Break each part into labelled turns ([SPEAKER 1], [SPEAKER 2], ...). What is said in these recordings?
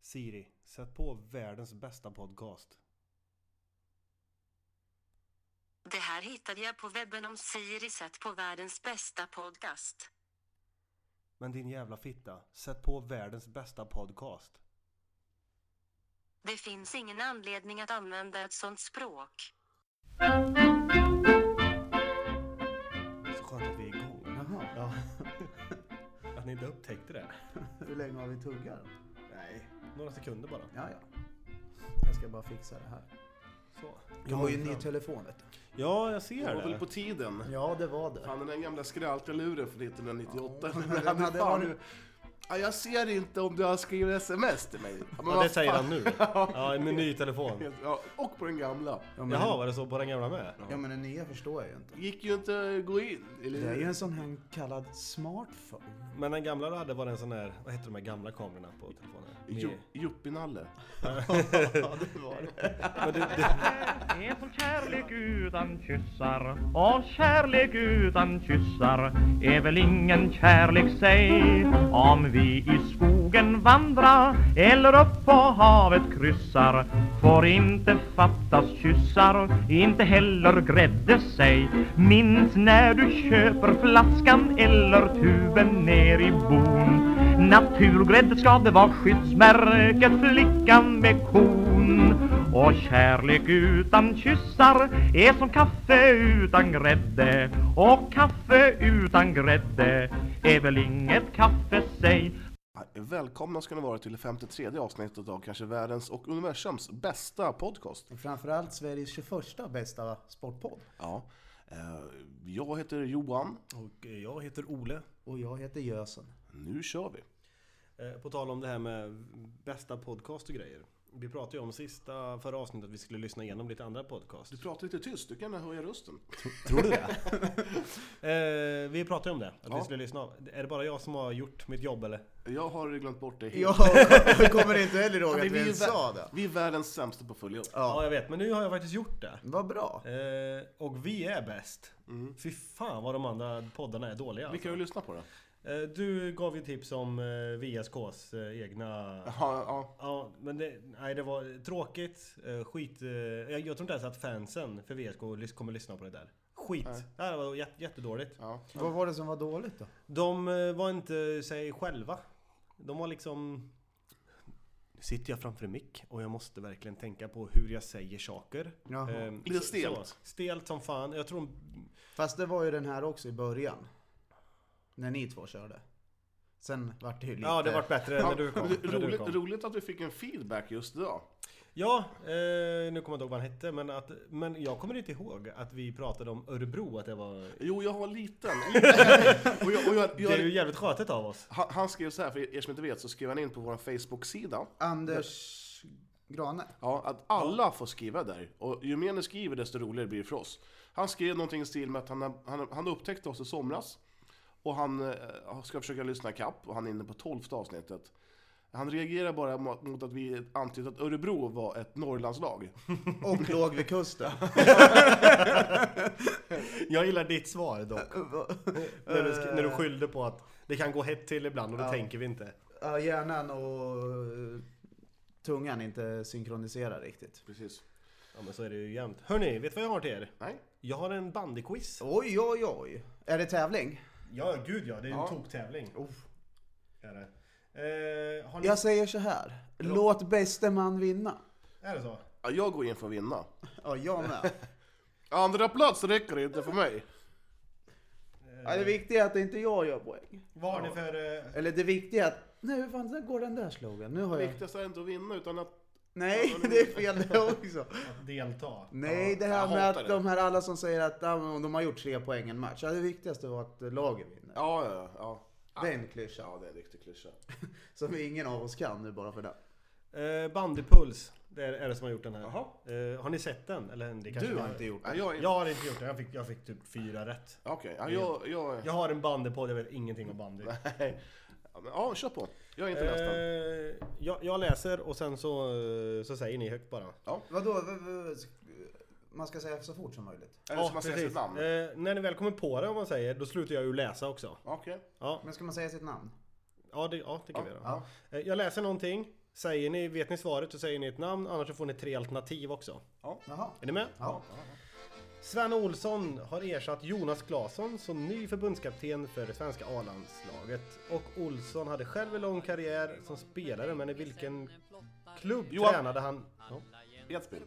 [SPEAKER 1] Siri, sätt på världens bästa podcast.
[SPEAKER 2] Det här hittade jag på webben om Siri sett på världens bästa podcast.
[SPEAKER 1] Men din jävla fitta, sätt på världens bästa podcast.
[SPEAKER 2] Det finns ingen anledning att använda ett sånt språk.
[SPEAKER 1] Så skönt att vi är igång.
[SPEAKER 3] Jaha,
[SPEAKER 1] Ja. Att ni inte upptäckte det.
[SPEAKER 3] hur länge har vi tuggar?
[SPEAKER 1] Nej, några sekunder bara.
[SPEAKER 3] Ja, ja. Jag ska bara fixa det här.
[SPEAKER 1] Så.
[SPEAKER 3] Jag har ju en ny telefon vet du.
[SPEAKER 1] Ja, jag ser
[SPEAKER 4] Det var väl
[SPEAKER 1] det.
[SPEAKER 4] på tiden.
[SPEAKER 3] Ja, det var det.
[SPEAKER 4] Fan, den där gamla skrältaluren från 1998. den hade
[SPEAKER 3] den hade
[SPEAKER 4] fan...
[SPEAKER 3] varit-
[SPEAKER 4] ja, jag ser inte om du har skrivit sms till mig. Ja, men
[SPEAKER 1] Ja, det
[SPEAKER 4] vad
[SPEAKER 1] säger
[SPEAKER 4] fan.
[SPEAKER 1] han nu. Ja, med ny telefon.
[SPEAKER 4] Ja, och på den gamla.
[SPEAKER 3] Ja, men,
[SPEAKER 1] Jaha, var det så på den gamla med?
[SPEAKER 3] ja, men den nya förstår jag ju inte.
[SPEAKER 4] gick ju inte att gå in. Eller...
[SPEAKER 3] Det är ju en sån här kallad smartphone.
[SPEAKER 1] Men den gamla du hade var den sån här, vad heter de här gamla kamerorna på telefonen?
[SPEAKER 4] Ju-
[SPEAKER 1] Med-
[SPEAKER 4] Juppinalle.
[SPEAKER 3] Ja, det var det.
[SPEAKER 1] Men det, det,
[SPEAKER 5] är som kärlek utan kyssar och kärlek utan kyssar är väl ingen kärlek säg om vi i skogen vandrar eller upp på havet kryssar får inte fattas kyssar inte heller grädde sig minns när du köper flaskan eller tuben ner i bon naturgrädde ska det vara skyddsmärket flickan med kon och kärlek utan kyssar är som kaffe utan grädde Och kaffe utan grädde är väl inget kaffe säg
[SPEAKER 4] Välkomna ska ni vara till 53 avsnittet av kanske världens och universums bästa podcast.
[SPEAKER 3] Framförallt Sveriges 21 bästa sportpodd.
[SPEAKER 4] Ja. Eh, Jag heter Johan.
[SPEAKER 1] och jag heter Ole.
[SPEAKER 3] Och jag heter Gösen.
[SPEAKER 4] Nu kör vi.
[SPEAKER 1] Eh, På tal om det här med bästa podcast och grejer. Vi pratade ju om sista förra avsnittet att vi skulle lyssna igenom lite andra podcast.
[SPEAKER 4] Du pratar lite tyst, du kan höja rösten.
[SPEAKER 1] Tror du det? eh, vi pratade ju om det, att vi
[SPEAKER 4] Ja.
[SPEAKER 1] skulle lyssna av. Är det bara jag som har gjort mitt jobb eller?
[SPEAKER 4] Jag har glömt bort det helt.
[SPEAKER 3] Jag kommer inte heller ihåg
[SPEAKER 4] Men
[SPEAKER 3] att vi
[SPEAKER 4] är
[SPEAKER 3] ens
[SPEAKER 4] vä-
[SPEAKER 3] sa det.
[SPEAKER 4] vi är världens sämsta på att följa upp.
[SPEAKER 1] Ja. jag vet. Men nu har jag faktiskt gjort det.
[SPEAKER 3] Vad bra.
[SPEAKER 1] Eh, och vi är bäst.
[SPEAKER 4] Mm.
[SPEAKER 1] Fy fan vad de andra poddarna är dåliga.
[SPEAKER 4] Vilka har du lyssnat på då?
[SPEAKER 1] Eh, du gav ju tips om eh, VSKs eh, egna...
[SPEAKER 4] Ja, ja.
[SPEAKER 1] Ja, men det, nej, det var tråkigt. eh, Skit. eh, Jag, jag tror inte ens att fansen för VSK lys- kommer lyssna på det där. Skit. Det här var jätte, jättedåligt.
[SPEAKER 4] ja.
[SPEAKER 3] Vad var det som var dåligt då?
[SPEAKER 1] De eh, var inte sig själva. De var liksom... Nu sitter jag framför en mick och jag måste verkligen tänka på hur jag säger saker.
[SPEAKER 3] Jaha.
[SPEAKER 1] Eh,
[SPEAKER 4] Lite
[SPEAKER 1] så-
[SPEAKER 4] stelt.
[SPEAKER 1] så. Stelt som fan. Jag tror de...
[SPEAKER 3] Fast det var ju den här också i början. När ni två körde. Sen vart det ju lite...
[SPEAKER 1] Ja, det vart bättre när du kom.
[SPEAKER 4] Ja,
[SPEAKER 1] När du
[SPEAKER 4] roligt,
[SPEAKER 1] kom.
[SPEAKER 4] roligt att vi fick en feedback just idag.
[SPEAKER 1] Ja, eh, nu kommer jag inte ihåg vad han hette, men, att, men jag kommer inte ihåg att vi pratade om Örebro, att det var...
[SPEAKER 4] Jo, jag har en liten. liten. och jag, och jag,
[SPEAKER 1] Det är ju
[SPEAKER 4] jag,
[SPEAKER 1] jävligt skötet av oss.
[SPEAKER 4] han, han skrev så här, för er som inte vet, så skrev han in på vår Facebook-sida
[SPEAKER 3] Anders Grane.
[SPEAKER 4] ja, att alla får skriva där. Och ju mer ni skriver, desto roligare blir det för oss. Han skrev någonting i stil med att han, han, han upptäckte oss i somras. Och han eh, ska försöka lyssna kapp och han är inne på tolfte avsnittet. Han reagerar bara mot mot att vi antydde att Örebro var ett Norrlandslag.
[SPEAKER 3] Och låg vid kusten.
[SPEAKER 1] Jag gillar ditt svar dock. när, du, sk- när du skyllde på att det kan gå hett till ibland och då tänker vi inte.
[SPEAKER 3] Ja, hjärnan och eh, tungan inte synkroniserar riktigt.
[SPEAKER 4] Precis.
[SPEAKER 1] Ja men så är det ju jämt. Hörni, vet du vad jag har till er?
[SPEAKER 4] Nej?
[SPEAKER 1] Jag har en bandyquiz.
[SPEAKER 3] Oj, oj, oj. Är det tävling?
[SPEAKER 1] Ja, gud ja. Det är en
[SPEAKER 4] Ja.
[SPEAKER 1] toktävling. Är det. Eh, har ni...
[SPEAKER 3] Jag säger så här. Låt bäste man vinna.
[SPEAKER 1] Är det så?
[SPEAKER 4] Ja, jag går in för att vinna.
[SPEAKER 3] Ja, jag med.
[SPEAKER 4] Andra plats räcker inte för mig.
[SPEAKER 3] Ja, det viktiga är att inte jag gör poäng.
[SPEAKER 1] Vad har ni för... Eh...
[SPEAKER 3] Eller det viktiga är att... Nej, hur fan där går den där slogan? Nu har
[SPEAKER 4] Det
[SPEAKER 3] jag...
[SPEAKER 4] viktigaste är inte att vinna utan att...
[SPEAKER 3] Nej, det är fel det också.
[SPEAKER 1] Att delta?
[SPEAKER 3] Nej, det här
[SPEAKER 4] jag
[SPEAKER 3] med
[SPEAKER 4] hatar
[SPEAKER 3] att
[SPEAKER 4] det.
[SPEAKER 3] de här alla som säger att ja, men de har gjort tre poäng en match. Ja, det viktigaste var att laget vinner.
[SPEAKER 4] Ja, ja, ja.
[SPEAKER 3] Den klyschan.
[SPEAKER 4] Ja, det är en riktig klyscha.
[SPEAKER 3] Som ingen av oss kan nu bara för det.
[SPEAKER 1] Eh, bandypuls. Det är, är det som har gjort den här.
[SPEAKER 4] Jaha.
[SPEAKER 1] Eh, har ni sett den? Eller det kanske
[SPEAKER 3] Du
[SPEAKER 1] ni
[SPEAKER 3] har inte gjort
[SPEAKER 4] Ja,
[SPEAKER 3] det.
[SPEAKER 4] jag är...
[SPEAKER 1] Jag har inte gjort den. Jag fick, jag fick typ fyra rätt.
[SPEAKER 4] Ja, Okej, ja, jag... jag...
[SPEAKER 1] Jag har en bandypodd, jag vet ingenting om bandy.
[SPEAKER 4] Nej. Ja, men, ja, kör på. Jag är inte läst den.
[SPEAKER 1] Eh, jag, jag läser och sen så, eh, så säger ni högt bara.
[SPEAKER 3] Vadå? V- v- Man ska säga så fort som möjligt.
[SPEAKER 4] Eller ska man säga sitt
[SPEAKER 1] precis.
[SPEAKER 4] namn?
[SPEAKER 1] Eh, när ni väl kommer på det om man säger, då slutar jag ju läsa också.
[SPEAKER 4] Okej.
[SPEAKER 1] Ja,
[SPEAKER 3] Men ska man säga sitt namn?
[SPEAKER 1] ja det, ja, det kan vi
[SPEAKER 4] Ja,
[SPEAKER 1] göra. Eh, jag läser någonting Säger ni, vet ni svaret så säger ni ett namn, annars så får ni tre alternativ också.
[SPEAKER 3] Jaha.
[SPEAKER 1] Är ni med?
[SPEAKER 3] Ja.
[SPEAKER 1] Sven Olsson har ersatt Jonas Claesson som ny förbundskapten för det svenska A-landslaget. Och Olsson hade själv en lång karriär som spelare, men i vilken klubb
[SPEAKER 4] Johan.
[SPEAKER 1] tränade han? Ja.
[SPEAKER 4] Edsbyn.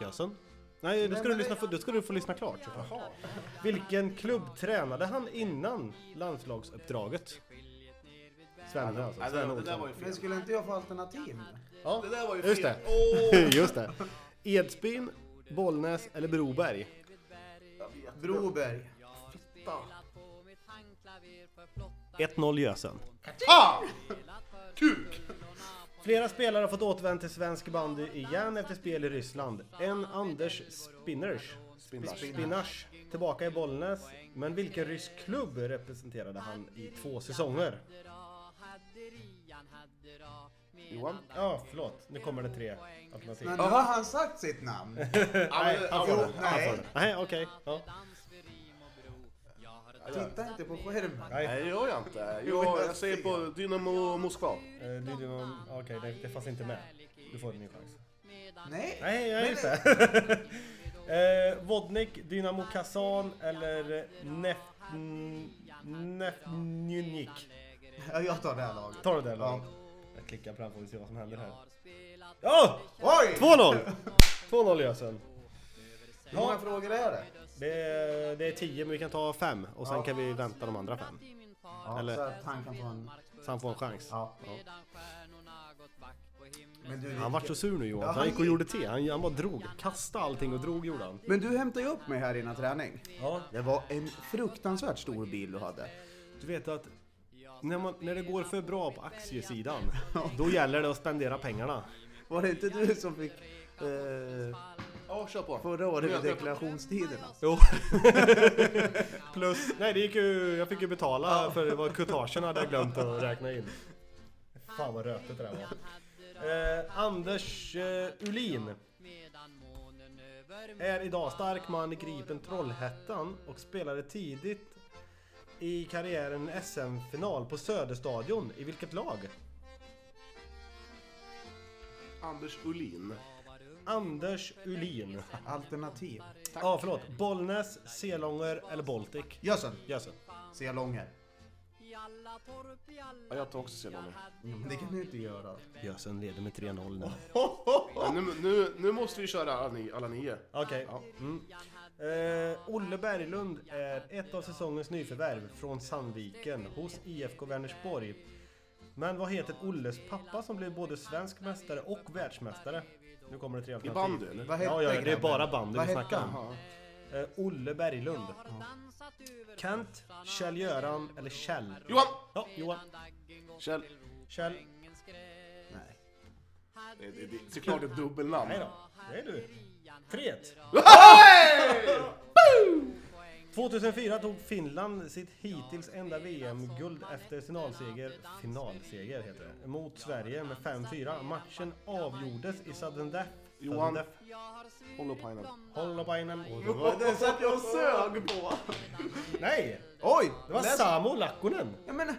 [SPEAKER 1] Jösen? Nej, då ska, du lyssna, då ska du få lyssna klart. Vilken klubb tränade han innan landslagsuppdraget? Sven alltså.
[SPEAKER 4] Nej, det,
[SPEAKER 1] Sven
[SPEAKER 4] det där
[SPEAKER 1] Olsson.
[SPEAKER 4] var ju
[SPEAKER 3] Men
[SPEAKER 4] fel.
[SPEAKER 3] skulle inte jag få alternativ nu?
[SPEAKER 1] Ja,
[SPEAKER 4] Det där var ju fel.
[SPEAKER 1] just det.
[SPEAKER 4] Åh!
[SPEAKER 1] Just det. Edsbyn, Bollnäs eller Broberg?
[SPEAKER 3] Broberg.
[SPEAKER 1] 1-0 Gösen.
[SPEAKER 4] Ah! Kuk!
[SPEAKER 1] Flera spelare har fått återvända till svensk bandy igen efter spel i Ryssland. En Anders Spinners,
[SPEAKER 4] Spinnars.
[SPEAKER 1] Spinnars tillbaka i Bollnäs. Men vilken rysk klubb representerade han i två säsonger?
[SPEAKER 4] Johan?
[SPEAKER 1] Ja, förlåt. Nu kommer det tre alternativ.
[SPEAKER 3] Men nu har han sagt sitt namn.
[SPEAKER 1] Nej, han får
[SPEAKER 3] Jo,
[SPEAKER 1] det.
[SPEAKER 3] nej.
[SPEAKER 1] Han får det. Nej, okej. Ja.
[SPEAKER 3] Titta inte på skärmen.
[SPEAKER 1] Nej.
[SPEAKER 4] Nej, det gör jag inte. Jag, jag säger på Dynamo Moskva.
[SPEAKER 1] Eh, det- det var- Okej, det, det fanns inte med. Du får en ny chans.
[SPEAKER 3] Nej.
[SPEAKER 1] Nej, jag
[SPEAKER 3] Men-
[SPEAKER 1] just det. eh, Vodnik, Dynamo Kazan eller Nefnjunik?
[SPEAKER 3] Ja, jag tar det här laget.
[SPEAKER 1] Tar du det
[SPEAKER 3] Ja.
[SPEAKER 1] eller? Jag klickar fram får vi se vad som händer här. Ja!
[SPEAKER 3] Oj!
[SPEAKER 1] 2-0! 2-0 Jösen.
[SPEAKER 3] Hur många frågor är det?
[SPEAKER 1] Det är, det är 10 men vi kan ta 5 och sen kan vi vänta de andra 5.
[SPEAKER 3] Ja,
[SPEAKER 1] Eller-
[SPEAKER 3] Så att han kan få en...
[SPEAKER 1] Så han får en chans.
[SPEAKER 3] Ja. Men du,
[SPEAKER 1] Han vart så sur nu Johan,
[SPEAKER 3] Ja,
[SPEAKER 1] så han
[SPEAKER 3] han
[SPEAKER 1] gick och
[SPEAKER 3] gick.
[SPEAKER 1] gjorde te. Han, han bara drog. Kastade allting och drog gjorde han.
[SPEAKER 3] Men du hämtade ju upp mig här innan träning.
[SPEAKER 1] Ja.
[SPEAKER 3] Det var en fruktansvärt stor bil du hade.
[SPEAKER 1] Du vet att när, man, när det går för bra på aktiesidan, då gäller det att spendera pengarna.
[SPEAKER 3] Var det inte du som fick eh,
[SPEAKER 4] Ja, kör på.
[SPEAKER 3] förra året
[SPEAKER 4] Jag-
[SPEAKER 3] med deklarationstiderna?
[SPEAKER 1] Jo. Plus, nej det gick ju, jag fick ju betala för det var kutagen hade jag glömt att räkna in. Fan vad rötet det där var. Eh, Anders eh, Ulin. Är idag stark man i Gripen Trollhättan och spelade tidigt i karriären en SM-final på Söderstadion. I vilket lag?
[SPEAKER 4] Anders Ulin.
[SPEAKER 1] Anders Ulin.
[SPEAKER 3] Alternativ.
[SPEAKER 1] Ja, ah, förlåt. Bollnäs, Selånger eller Baltic?
[SPEAKER 3] Jösen,
[SPEAKER 1] Jösse.
[SPEAKER 3] se långer.
[SPEAKER 4] Ja, jag tar också Selånger.
[SPEAKER 3] Men det kan du inte göra.
[SPEAKER 1] Jösen leder med 3-0 nu.
[SPEAKER 4] Ja, nu, nu, nu måste vi köra alla, ni, alla nio.
[SPEAKER 1] Okej. Mm. Eh, Olle Berglund är ett av säsongens nyförvärv från Sandviken hos IFK Vänersborg. Men vad heter Olles pappa som blev både svensk mästare och världsmästare? Nu kommer det tre
[SPEAKER 4] I
[SPEAKER 1] alternativ.
[SPEAKER 4] bandy, eller?
[SPEAKER 3] Vad hette
[SPEAKER 1] Ja, ja, det är
[SPEAKER 3] grabben?
[SPEAKER 1] bara bandy vi
[SPEAKER 3] Vad hette
[SPEAKER 1] snackar om.
[SPEAKER 3] han?
[SPEAKER 4] Ja.
[SPEAKER 1] Eh, Olle Berglund. Kent, Kjell-Göran eller Kjell?
[SPEAKER 4] Johan!
[SPEAKER 1] Ja, Johan.
[SPEAKER 4] Kjell.
[SPEAKER 1] Kjell.
[SPEAKER 3] Nej.
[SPEAKER 4] Det, det, det, såklart ett dubbelnamn.
[SPEAKER 1] Nej då. Det är du. 3-1.
[SPEAKER 4] Hej!
[SPEAKER 1] 2004 tog Finland sitt hittills enda VM-guld efter finalseger, finalseger heter det, mot Sverige med 5-4. Matchen avgjordes i sudden death.
[SPEAKER 4] Johan. Holopainen.
[SPEAKER 1] Holopainen.
[SPEAKER 3] Den satt jag och sög på.
[SPEAKER 1] Nej!
[SPEAKER 3] Oj!
[SPEAKER 1] Det var
[SPEAKER 3] läs-
[SPEAKER 1] Samu Lakkonen!
[SPEAKER 3] Ja, men,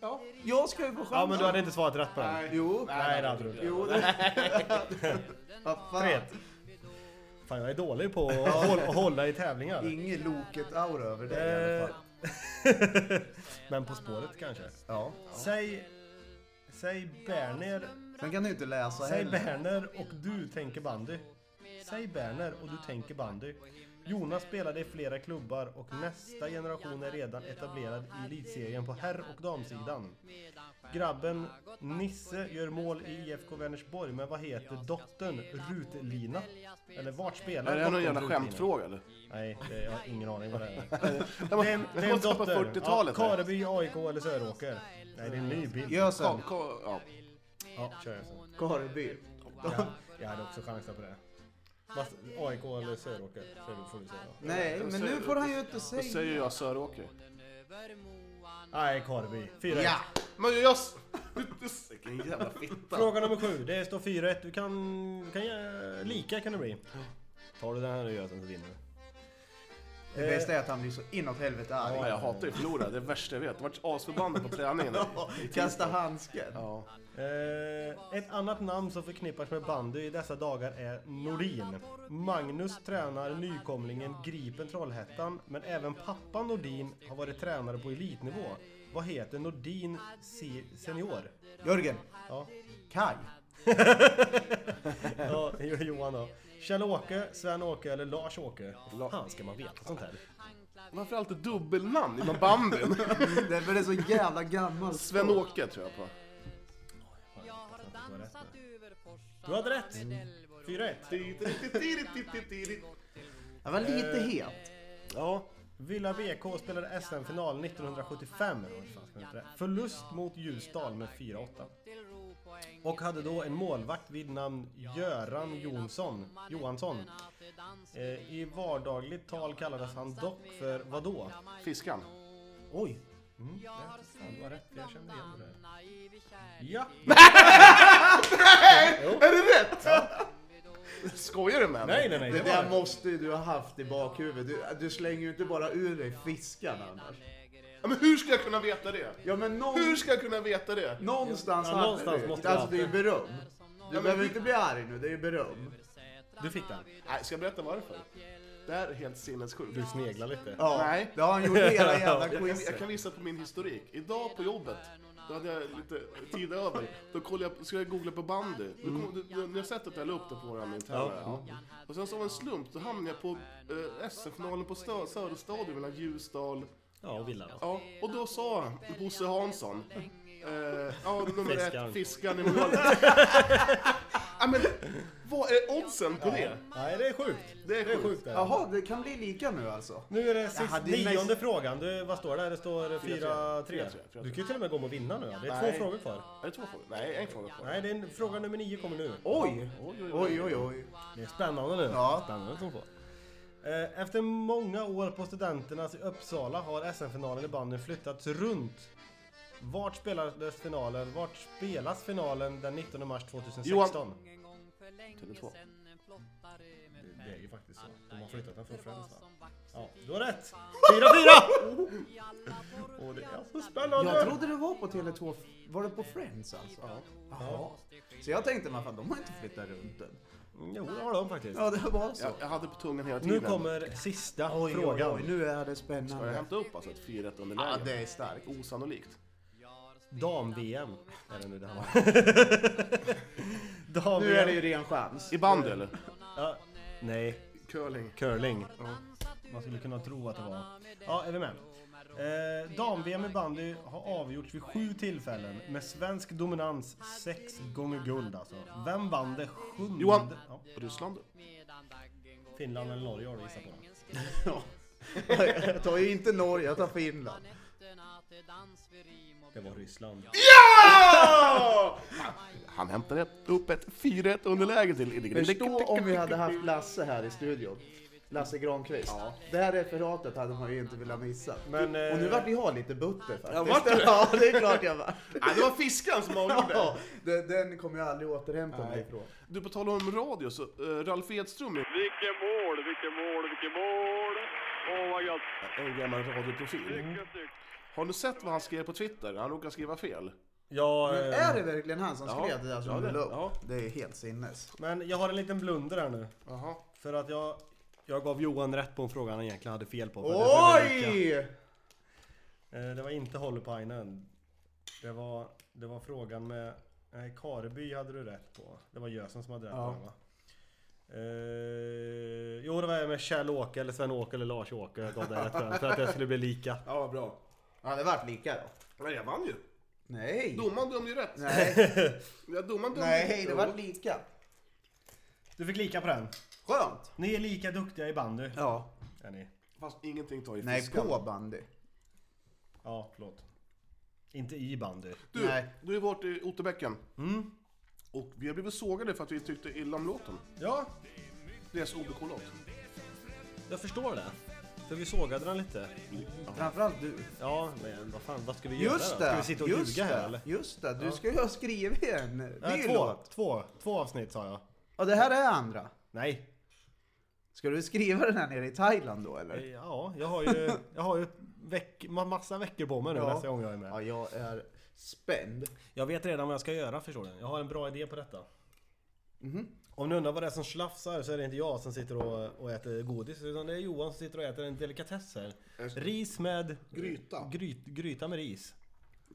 [SPEAKER 3] ja, jag ska ju få chansen.
[SPEAKER 1] Ja men du hade inte svarat rätt på den.
[SPEAKER 3] Jo.
[SPEAKER 1] Nej det hade du inte.
[SPEAKER 3] Jo, det... Vad fan.
[SPEAKER 1] 3-1. Fan jag är dålig på att hålla, att hålla i tävlingar. Eh.
[SPEAKER 3] Inget Loket-aura över dig i alla fall.
[SPEAKER 1] Men På spåret kanske.
[SPEAKER 3] Ja.
[SPEAKER 1] Säg... Säg Berner
[SPEAKER 3] Sen kan du inte läsa
[SPEAKER 1] Säg
[SPEAKER 3] heller.
[SPEAKER 1] Berner och du tänker bandy. Säg Berner och du tänker bandy. Jonas spelade i flera klubbar och nästa generation är redan etablerad i elitserien på herr och damsidan. Grabben Nisse gör mål i IFK Vänersborg, men vad heter dottern Rutlina? Eller vart spelar
[SPEAKER 4] Är det här någon
[SPEAKER 1] dottern
[SPEAKER 4] jävla
[SPEAKER 1] Rutlina?
[SPEAKER 4] skämtfråga eller?
[SPEAKER 1] Nej, det, jag har ingen aning vad det är. Det är en- det är en
[SPEAKER 4] måste vara på
[SPEAKER 1] dotter.
[SPEAKER 4] 40-talet
[SPEAKER 1] Ja,
[SPEAKER 4] här.
[SPEAKER 1] Kareby, AIK eller Söråker? Nej, det är en ny bild.
[SPEAKER 3] Jösen.
[SPEAKER 4] Ka, ka, ja.
[SPEAKER 1] Ja, kör jag sen.
[SPEAKER 3] Kareby.
[SPEAKER 1] Ja, jag hade också chansat på det. Fast AIK eller Söråker så det får du säga.
[SPEAKER 3] Nej, men nu får han ju inte
[SPEAKER 4] Då
[SPEAKER 3] säga.
[SPEAKER 4] säger jag Söråker.
[SPEAKER 1] Nej, Karby. 4-1.
[SPEAKER 3] Ja!
[SPEAKER 4] Men jag... Vilken jävla fitta.
[SPEAKER 1] Fråga nummer sju. Det står 4-1. Du kan... kan jag, lika kan det bli. Tar du den här och gör sen så vinner du.
[SPEAKER 3] Det bästa är att han blir så inåt helvete
[SPEAKER 4] Ja,
[SPEAKER 3] arg.
[SPEAKER 4] jag hatar ju förlora, det är det värsta jag vet. Jag vart asförbannad på träningen.
[SPEAKER 3] Kasta handsken.
[SPEAKER 4] Ja.
[SPEAKER 1] Eh, ett annat namn som förknippas med bandy i dessa dagar är Norin. Magnus tränar nykomlingen Gripen Trollhättan, men även pappan Nordin har varit tränare på elitnivå. Vad heter Nordin se- senior?
[SPEAKER 3] Jörgen.
[SPEAKER 1] Ja,
[SPEAKER 3] Kaj.
[SPEAKER 1] ja Jo- Johan då. Kjell-Åke, Sven-Åke eller Lars-Åke? Hur fan ska man veta sånt här?
[SPEAKER 4] Varför alltid dubbelnamn inom bandyn?
[SPEAKER 3] Det är för det är så jävla gammalt.
[SPEAKER 4] Sven-Åke tror jag på.
[SPEAKER 1] Du har rätt nu. Du hade rätt! 4-1.
[SPEAKER 3] Jag var lite het.
[SPEAKER 1] Ja. Villa BK spelade SM-final 1975. Vad fan ska man heta det? Förlust mot Ljusdal med 4-8. Och hade då en målvakt vid namn Göran Jonsson, Johansson. Eh, I vardagligt tal kallades han dock för vadå?
[SPEAKER 4] Fiskan.
[SPEAKER 3] Oj.
[SPEAKER 1] Mm, det är fan, du har rätt, jag känner igen det där. Ja,
[SPEAKER 3] Är det rätt?
[SPEAKER 4] Skojar du med
[SPEAKER 1] nej
[SPEAKER 4] mig?
[SPEAKER 1] nej nej.
[SPEAKER 3] Det
[SPEAKER 1] Det var
[SPEAKER 3] där
[SPEAKER 1] rätt.
[SPEAKER 3] måste ju du ha haft i bakhuvudet. Du, du slänger ju inte bara ur dig fiskarna annars.
[SPEAKER 4] Ja, Men hur ska jag kunna veta det?
[SPEAKER 3] Ja men någon,
[SPEAKER 4] Hur ska jag kunna veta det?
[SPEAKER 3] någonstans
[SPEAKER 1] Ja,
[SPEAKER 3] hade
[SPEAKER 1] någonstans
[SPEAKER 3] du.
[SPEAKER 1] måste jag
[SPEAKER 3] Alltså det är ju
[SPEAKER 1] haft det.
[SPEAKER 3] beröm. Du behöver inte bli arg nu, det är ju beröm.
[SPEAKER 1] Du fick den.
[SPEAKER 4] Nej, ska jag berätta varför? Det här är helt sinnessjukt.
[SPEAKER 1] Du sneglar lite.
[SPEAKER 3] Ja,
[SPEAKER 4] Nej.
[SPEAKER 3] det har han gjort hela jävla
[SPEAKER 4] Jag kan, jag
[SPEAKER 3] quizet.
[SPEAKER 4] kan visa på min historik. Idag på jobbet, då hade jag lite tid över. Då kollade jag, ska jag googla på bandy. Du, kom- du, du, ni har sett att jag la upp det på vår interna. Ja. Och sen så av en slump, då hamnade jag på eh, SF-finalen på Stö- Söderstadion mellan Ljusdal
[SPEAKER 1] Ja, och Villa då.
[SPEAKER 4] Ja, och då sa Bosse Hansson, eh, ja nummer
[SPEAKER 1] Fiskaren.
[SPEAKER 4] ett, fiskaren i målet. ja, men vad är oddsen på det?
[SPEAKER 1] Nej, det är sjukt.
[SPEAKER 4] Det är
[SPEAKER 1] Det är
[SPEAKER 4] sjukt.
[SPEAKER 1] sjukt det. här.
[SPEAKER 3] Jaha, det kan bli lika nu alltså.
[SPEAKER 1] Nu är det sist,
[SPEAKER 3] Jaha, det är
[SPEAKER 1] nionde
[SPEAKER 3] nice.
[SPEAKER 1] frågan. Du, vad står det? Det står 4-3.
[SPEAKER 4] 4-3.
[SPEAKER 1] Du kan ju till och med gå om och vinna nu. Det är
[SPEAKER 4] Nej.
[SPEAKER 1] två frågor kvar.
[SPEAKER 4] Är det två frågor? Nej, en fråga kvar.
[SPEAKER 1] Nej, det är en, fråga nummer nio kommer nu.
[SPEAKER 3] Oj!
[SPEAKER 4] Oj, oj, oj.
[SPEAKER 3] Oj, oj, oj.
[SPEAKER 1] Det är spännande nu.
[SPEAKER 3] Ja.
[SPEAKER 1] Spännande som få. Eh, Efter många år på Studenternas i Uppsala har SM-finalen i banden flyttats runt. Vart spelades finalen? Vart spelas finalen den 19 mars 2016?
[SPEAKER 4] Tele2.
[SPEAKER 1] Det är ju faktiskt så. De har flyttat den från Friends va? Ja, du har rätt! 4-4! Åh, det är så spännande!
[SPEAKER 3] Jag trodde det var på Tele2. Var det på Friends alltså? Ja. Jaha. Så jag tänkte, men fan de har inte flyttat runt den.
[SPEAKER 1] Mm, Jo, det har de faktiskt.
[SPEAKER 3] Ja, det var så.
[SPEAKER 4] Jag, jag hade på tungan hela
[SPEAKER 1] Nu
[SPEAKER 4] tiden.
[SPEAKER 1] kommer sista
[SPEAKER 3] Oj, oj,
[SPEAKER 1] frågan.
[SPEAKER 3] oj, nu är det
[SPEAKER 4] Har jag
[SPEAKER 3] spännande.
[SPEAKER 4] hämtat upp alltså ett 4-1 underläge?
[SPEAKER 3] Ja, det är starkt.
[SPEAKER 4] Osannolikt.
[SPEAKER 1] Dam-VM är det nu det handlar om. Dam-VM.
[SPEAKER 3] Nu är det ju ren chans.
[SPEAKER 4] I bandy eller?
[SPEAKER 1] ja, nej,
[SPEAKER 4] Curling.
[SPEAKER 1] curling. Man skulle kunna tro att det var. Ja, är vi med? Eh, Dam-VM i bandy har avgjorts vid sju tillfällen med svensk dominans sex gånger guld alltså. Vem vann det sjunde?
[SPEAKER 4] Johan.
[SPEAKER 1] Ja,
[SPEAKER 4] Ryssland?
[SPEAKER 1] Finland eller Norge har du gissat på.
[SPEAKER 3] Ja. Jag tar ju inte Norge, jag tar Finland.
[SPEAKER 1] Det var Ryssland.
[SPEAKER 4] Ja! Han hämtade upp ett 4-1 underläge till...
[SPEAKER 3] Förstå om vi hade haft Lasse här i studion. Lasse Granqvist. Det här referatet hade man ju inte velat missa.
[SPEAKER 1] Men, eh,
[SPEAKER 3] Och nu vart jag lite butter faktiskt.
[SPEAKER 4] Ja, vart du?
[SPEAKER 3] Ja, det är klart jag vart.
[SPEAKER 4] Nej, det var fiskaren som avgjorde.
[SPEAKER 3] Ja, den, den kommer jag aldrig återhämta mig ifrån.
[SPEAKER 4] Du, på tal om radio, så eh, Ralf Edström är
[SPEAKER 6] Vilket mål, vilket mål, vilket mål! Åh vad gött!
[SPEAKER 4] en gammal radioprofil. Mm. Har du sett vad han skrev på Twitter? Han råkade skriva fel.
[SPEAKER 1] Ja,
[SPEAKER 3] Men
[SPEAKER 1] eh,
[SPEAKER 3] är det verkligen han som
[SPEAKER 4] ja,
[SPEAKER 3] skrev det där
[SPEAKER 4] ja,
[SPEAKER 3] som du
[SPEAKER 4] det-
[SPEAKER 3] la upp?
[SPEAKER 4] ja.
[SPEAKER 3] Det är helt sinnes.
[SPEAKER 1] men jag har en liten blunder här nu.
[SPEAKER 4] Jaha.
[SPEAKER 1] För att jag, jag gav Johan rätt på en fråga han egentligen hade fel på. för att det blev lika.
[SPEAKER 3] Oj!
[SPEAKER 1] Eh, Det var inte Hollepainen. Det var, det var frågan med... Nej, Kareby hade du rätt på. Det var Gösen som hade rätt
[SPEAKER 3] Ja.
[SPEAKER 1] på den va? Eh, jo, det var jag med Kjell-Åke eller Sven-Åke eller Lars-Åke. Jag gav dig rätt för, den, för att det skulle bli lika.
[SPEAKER 3] Ja, vad bra. Ja, det vart lika då.
[SPEAKER 4] Nej, jag vann ju.
[SPEAKER 3] Nej!
[SPEAKER 4] Domaren dömde ju rätt.
[SPEAKER 3] Nej,
[SPEAKER 4] Ja, domaren dömde
[SPEAKER 3] nej,
[SPEAKER 4] ju
[SPEAKER 3] det
[SPEAKER 4] rätt.
[SPEAKER 3] vart lika.
[SPEAKER 1] Du fick lika på den.
[SPEAKER 3] Skönt!
[SPEAKER 1] Ni är lika duktiga i bandy.
[SPEAKER 3] Ja.
[SPEAKER 1] Är ni?
[SPEAKER 4] Fast ingenting tar ju
[SPEAKER 3] Nej,
[SPEAKER 4] fiskan.
[SPEAKER 3] på bandy.
[SPEAKER 1] Ja, förlåt. Inte i bandy.
[SPEAKER 4] Du,
[SPEAKER 3] Nej. Mm.
[SPEAKER 4] du har varit i Otterbäcken. Och vi har blivit sågade för att vi tyckte illa om låten.
[SPEAKER 1] Ja,
[SPEAKER 4] Deras OBK-låt.
[SPEAKER 1] jag förstår det. För vi sågade den lite.
[SPEAKER 3] Framförallt du.
[SPEAKER 1] Ja, men vad fan, vad ska vi göra
[SPEAKER 3] Just
[SPEAKER 1] då? Ska
[SPEAKER 3] det!
[SPEAKER 1] vi sitta och
[SPEAKER 3] just
[SPEAKER 1] ljuga här
[SPEAKER 3] det,
[SPEAKER 1] eller?
[SPEAKER 3] Just det, du ska ju ha skrivit en ny
[SPEAKER 1] Nej, två,
[SPEAKER 3] låt.
[SPEAKER 1] två, två avsnitt sa jag.
[SPEAKER 3] Och det här är andra.
[SPEAKER 1] Nej.
[SPEAKER 3] Ska du skriva den här nere i Thailand då eller?
[SPEAKER 1] Ja, jag har ju, jag har ju veck, ma- massa veckor på mig nu
[SPEAKER 3] Ja.
[SPEAKER 1] nästa gång jag är
[SPEAKER 3] Ja,
[SPEAKER 1] med.
[SPEAKER 3] jag är spänd.
[SPEAKER 1] Jag vet redan vad jag ska göra förstår du. Jag har en bra idé på detta. Om ni undrar vad det är som slafsar så är det inte jag som sitter och, och äter godis utan det är Johan som sitter och äter en delikatess här.
[SPEAKER 4] Just det.
[SPEAKER 1] Ris med...
[SPEAKER 4] Gryta.
[SPEAKER 1] Gryt, gryta med ris.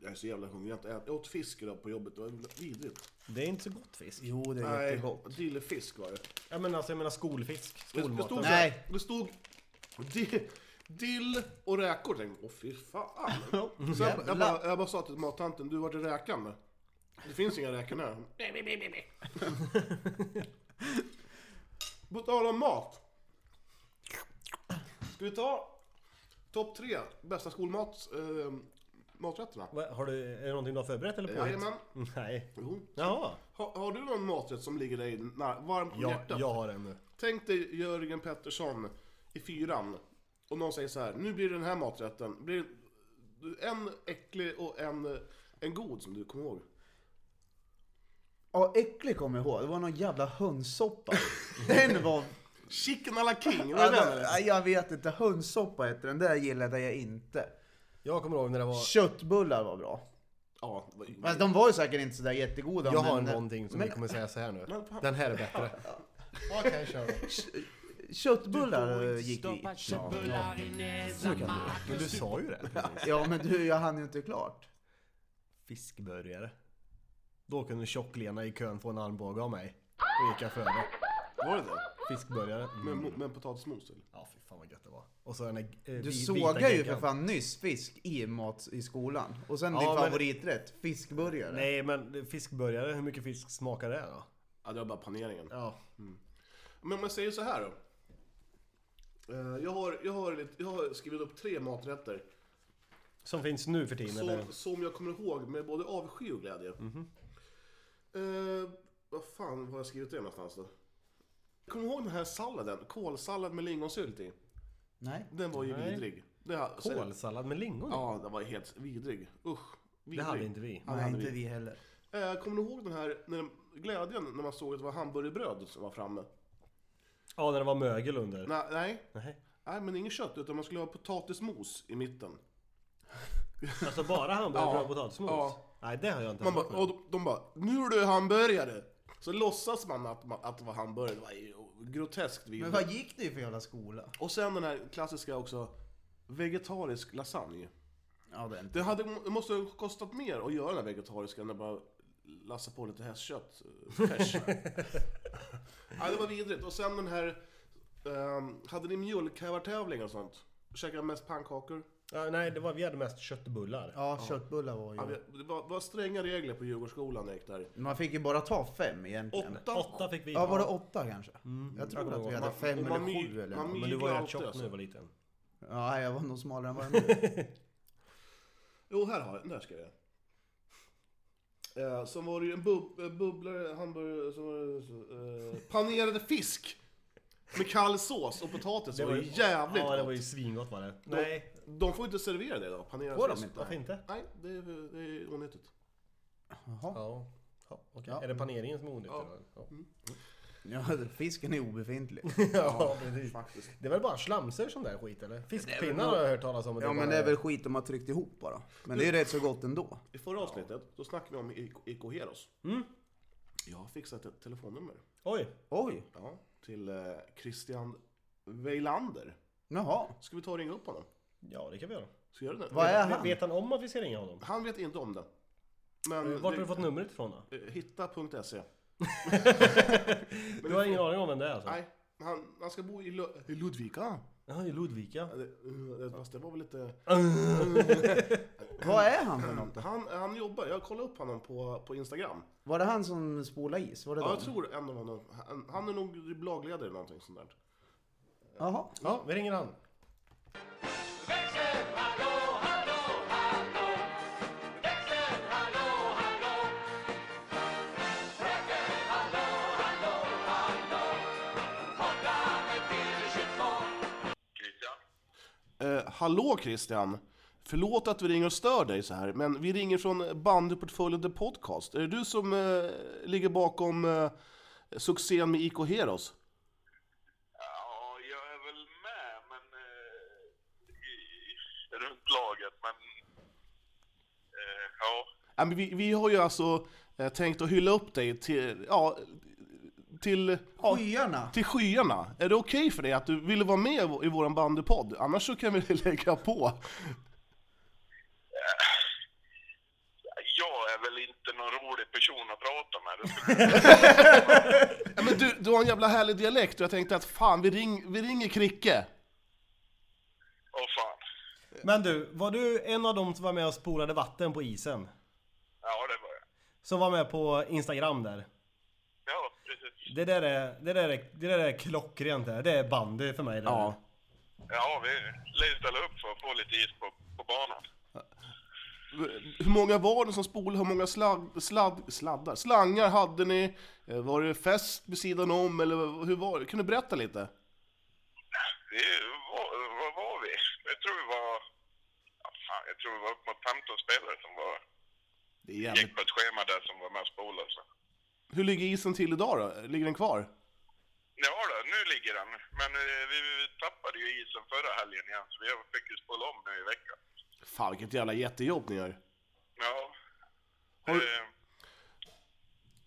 [SPEAKER 4] Jag är så jävla hungrig. Jag har inte ätit- jag åt fisk idag på jobbet. Det var vidrigt.
[SPEAKER 1] Det är inte så gott fisk.
[SPEAKER 3] Jo, det är
[SPEAKER 4] Nej,
[SPEAKER 3] jättegott.
[SPEAKER 4] dillefisk var det.
[SPEAKER 1] Ja men alltså jag menar skolfisk.
[SPEAKER 4] Det, det
[SPEAKER 1] Skolmaten.
[SPEAKER 4] stod så
[SPEAKER 3] Nej.
[SPEAKER 4] här, Det stod di- dill och räkor. Jag tänkte, åh fy fan. Så jag, jag, bara, jag bara sa till mattanten, du vart är räkan? då? Det finns inga räkor här. På tal om mat. Ska vi ta topp tre bästa skolmat, eh, maträtterna?
[SPEAKER 1] Vad- Har du, är det någonting du har förberett eller på?
[SPEAKER 4] Jajamän.
[SPEAKER 1] Nej.
[SPEAKER 4] Jo.
[SPEAKER 1] Jaha.
[SPEAKER 4] Har, har du någon maträtt som ligger dig nära, varmt om
[SPEAKER 1] Ja,
[SPEAKER 4] hjärtat?
[SPEAKER 1] jag har en nu.
[SPEAKER 4] Tänk dig Jörgen Pettersson i fyran och någon säger så här, nu blir det den här maträtten. Blir det en äcklig och en, en god som du kommer ihåg?
[SPEAKER 3] Ja, äcklig kommer jag ihåg. Det var någon jävla hönssoppa. Den var...
[SPEAKER 4] Chicken à la king, vad är det?
[SPEAKER 1] Alltså,
[SPEAKER 4] eller?
[SPEAKER 1] äh,
[SPEAKER 3] Ja, jag vet inte. Hönssoppa heter den. Där gillade jag inte.
[SPEAKER 1] Jag kommer ihåg när det var...
[SPEAKER 3] Köttbullar var bra.
[SPEAKER 4] Ja, vad-
[SPEAKER 3] Fast de var ju säkert inte sådär jättegoda.
[SPEAKER 1] Jag har
[SPEAKER 3] men- eh,
[SPEAKER 1] någonting som
[SPEAKER 3] men
[SPEAKER 1] vi kommer säga så här nu.
[SPEAKER 4] Men fan.
[SPEAKER 1] Den här är bättre. Okej, kör
[SPEAKER 3] Köttbullar eh, gick vi.
[SPEAKER 1] Men du sa ju det.
[SPEAKER 3] Ja, men du, jag hann ju inte klart.
[SPEAKER 1] Fiskburgare. Då kunde tjock-Lena i kön få en armbåge av mig. Då gick jag före.
[SPEAKER 4] Var det det?
[SPEAKER 1] Fiskburgare. Mm.
[SPEAKER 4] Med, med potatismos eller?
[SPEAKER 1] Ja, fy fan vad gött det var. Och så den där eh, vi-
[SPEAKER 3] Du
[SPEAKER 1] vita
[SPEAKER 3] sågar ju
[SPEAKER 1] geggan.
[SPEAKER 3] för fan nyss fisk i mat i skolan. Och sen
[SPEAKER 1] Ja,
[SPEAKER 3] din
[SPEAKER 1] men-
[SPEAKER 3] favoriträtt, fiskburgare.
[SPEAKER 1] Nej, men fiskburgare, hur mycket fisk smakar det då?
[SPEAKER 4] Ja, det var bara paneringen.
[SPEAKER 1] Ja.
[SPEAKER 4] Men om jag säger så här då. Eh, Jag har, jag har, lite- jag har skrivit upp tre maträtter
[SPEAKER 1] Som finns nu för tiden. eller?
[SPEAKER 4] som, som jag kommer ihåg med både avsky och glädje.
[SPEAKER 1] Mhm.
[SPEAKER 4] Eh, vad fan har jag skrivit det någonstans då? Kommer du ihåg den här salladen? Kålsallad med lingonsylt i.
[SPEAKER 3] Nej.
[SPEAKER 4] Den var ju
[SPEAKER 1] Nej.
[SPEAKER 4] vidrig. Det här,
[SPEAKER 1] Kålsallad med lingon?
[SPEAKER 4] Ja, den var helt vidrig. Usch.
[SPEAKER 1] det
[SPEAKER 4] Vidrig.
[SPEAKER 1] hade inte vi.
[SPEAKER 4] Ja, det
[SPEAKER 3] Nej,
[SPEAKER 4] hade
[SPEAKER 3] inte
[SPEAKER 4] vi.
[SPEAKER 3] vi heller.
[SPEAKER 4] Eh, kommer du ihåg den här när, glädjen när man såg att det var hamburgerbröd som var framme?
[SPEAKER 1] Ja, när det var mögel under.
[SPEAKER 4] Nej, nej,
[SPEAKER 1] Nej.
[SPEAKER 4] nej men inget kött utan man skulle ha potatismos i mitten.
[SPEAKER 1] Alltså bara hamburgare
[SPEAKER 4] Ja.
[SPEAKER 1] och potatismos?
[SPEAKER 4] Ja.
[SPEAKER 1] Nej, det har jag inte
[SPEAKER 4] Man
[SPEAKER 1] haft
[SPEAKER 4] bara,
[SPEAKER 1] med.
[SPEAKER 4] och de, de bara, nu är du hamburgare! Så låtsas man att, man, att det var hamburgare, det var ju groteskt
[SPEAKER 3] Men
[SPEAKER 4] vidrigt.
[SPEAKER 3] vad gick det för jävla skola?
[SPEAKER 4] Och sen den här klassiska också, vegetarisk lasagne.
[SPEAKER 3] Ja, det är inte.
[SPEAKER 4] Det, hade, det måste ha kostat mer att göra den här vegetariska än att bara lassa på lite hästkött. eh, Färs. ja, det var vidrigt. Och sen den här, ehm, hade ni mjölkhävartävling och sånt? Käkade mest pannkakor?
[SPEAKER 1] Ja, nej, det var, vi hade mest köttbullar.
[SPEAKER 3] Ja, köttbullar var
[SPEAKER 4] Ja, vi-
[SPEAKER 3] ju...
[SPEAKER 4] det var, det var stränga regler på Djurgårdsskolan när jag gick där.
[SPEAKER 3] Man fick ju bara ta fem egentligen.
[SPEAKER 4] Åtta,
[SPEAKER 1] Åtta fick vi.
[SPEAKER 3] Ja, var det åtta kanske? Jag tror
[SPEAKER 1] jag
[SPEAKER 3] att vi
[SPEAKER 1] kommer
[SPEAKER 3] hade
[SPEAKER 1] ihåg.
[SPEAKER 3] fem
[SPEAKER 4] Man-
[SPEAKER 3] eller
[SPEAKER 4] man my-
[SPEAKER 3] sju eller
[SPEAKER 4] man
[SPEAKER 3] något.
[SPEAKER 4] my-
[SPEAKER 1] Men du var ju rätt
[SPEAKER 4] alltid,
[SPEAKER 1] tjock
[SPEAKER 4] alltså.
[SPEAKER 1] när du var liten.
[SPEAKER 3] Ja, jag var nog smalare än vad jag nu är.
[SPEAKER 4] Jo, här har jag. Där ska jag. Eh, sen var det ju en bub eh, bubblare, hamburgare, så var det, så, eh, panerade fisk! Med kall sås och potatis. Det var ju jävligt
[SPEAKER 1] Ja, det var
[SPEAKER 4] gott.
[SPEAKER 1] ju svingott var det.
[SPEAKER 4] De,
[SPEAKER 1] Nej,
[SPEAKER 4] de får inte servera det idag, panerad
[SPEAKER 3] Får de
[SPEAKER 4] fisk.
[SPEAKER 3] inte?
[SPEAKER 1] varför inte?
[SPEAKER 4] Nej, det är, det är onyttigt.
[SPEAKER 3] Jaha.
[SPEAKER 1] Ja. Ja, okej.
[SPEAKER 3] Ja.
[SPEAKER 1] Är det paneringen som är onyttig?
[SPEAKER 4] Ja. Mm.
[SPEAKER 1] då? Ja.
[SPEAKER 3] Ja, fisken är obefintlig.
[SPEAKER 1] ja, precis.
[SPEAKER 4] Faktiskt.
[SPEAKER 1] Det är väl bara slamsor sån där skit eller? Fiskpinnar har jag hört talas om. att
[SPEAKER 3] Ja,
[SPEAKER 1] bara
[SPEAKER 3] men det är väl skit de har tryckt ihop bara. Men det är ju rätt så gott ändå.
[SPEAKER 4] I förra avsnittet, då snackade vi om I- IK Heroes. Jag har fixat ett telefonnummer.
[SPEAKER 1] Oj!
[SPEAKER 3] Oj!
[SPEAKER 4] Ja, till eh, Christian Weilander.
[SPEAKER 3] Jaha.
[SPEAKER 4] Ska vi ta och ringa upp honom?
[SPEAKER 1] Ja, det kan vi göra.
[SPEAKER 4] Ska vi göra det?
[SPEAKER 3] Vad är
[SPEAKER 1] Vet-
[SPEAKER 3] han?
[SPEAKER 1] Vet han om att vi ska ringa honom?
[SPEAKER 4] Han vet inte om det. Men
[SPEAKER 1] Eh, Vart
[SPEAKER 4] Mm, det-
[SPEAKER 1] har du fått numret ifrån då?
[SPEAKER 4] Eh, Hitta.se.
[SPEAKER 1] Du har ingen aning om vem det är alltså?
[SPEAKER 4] Nej, han, han ska bo i Lu- i Ludvika.
[SPEAKER 1] Ja, i Ludvika.
[SPEAKER 4] Ja, det- eh, Fast det var väl lite...
[SPEAKER 3] Vad är han för något då?
[SPEAKER 4] Han, han jobbar, jag kollade upp honom på, på Instagram.
[SPEAKER 3] Var det han som spolade is? Var det
[SPEAKER 4] Ja,
[SPEAKER 3] ja,
[SPEAKER 4] jag tror en av honom. Han, han är nog blogledare eller någonting sånt där.
[SPEAKER 3] Jaha.
[SPEAKER 1] Ja, vi ringer han.
[SPEAKER 4] Eh, hallå Christian! Förlåt att vi ringer och stör dig så här, men vi ringer från Bandyportföljen The Podcast. Är det du som eh, ligger bakom eh, succén med IK Heroes?
[SPEAKER 7] Ja,
[SPEAKER 4] Ja, men vi, vi har ju alltså eh, tänkt att hylla upp dig till, ja, till, ja,
[SPEAKER 3] Skyarna.
[SPEAKER 4] till skyarna. Är det okej för dig att du ville vara med i vår- i våran bandypodd? Annars så kan vi lägga på.
[SPEAKER 6] Jag är väl inte någon rolig person att prata med.
[SPEAKER 4] Ja, men du, du har en jävla härlig dialekt och jag tänkte att fan, vi, ring, vi ringer Kricke.
[SPEAKER 6] Åh fan.
[SPEAKER 1] Men du, var du en av dem som var med och spolade vatten på isen?
[SPEAKER 6] Ja, det var jag.
[SPEAKER 1] Som var med på Instagram där?
[SPEAKER 6] Ja, precis.
[SPEAKER 1] Det där är, det där är, det där är klockrent där. Det är bandy för mig. det
[SPEAKER 4] Ja.
[SPEAKER 1] där.
[SPEAKER 6] Ja, vi lär ju ställa upp för att få lite is på, på banan.
[SPEAKER 4] Hur många var det som spolade? Hur många sladd, sladd, sladdar, slangar hade ni? Eh, Var det fest vid sidan om eller hur var det? Kan du berätta lite?
[SPEAKER 6] Vi var, vad var vi? Jag tror vi var... Ja, fan, jag tror vi var upp mot 15 spelare som var,
[SPEAKER 4] Det är jävligt.
[SPEAKER 6] gick på ett schema där som var med och spolade. så.
[SPEAKER 4] Hur ligger isen till idag då? Ligger den kvar?
[SPEAKER 6] Ja då, nu ligger den. Men eh, vi, vi tappade ju isen förra helgen igen, så vi fick ju spola om nu i veckan.
[SPEAKER 4] Fan vilket jävla jättejobb ni gör.
[SPEAKER 6] Ja.
[SPEAKER 4] Har du-
[SPEAKER 6] Eh,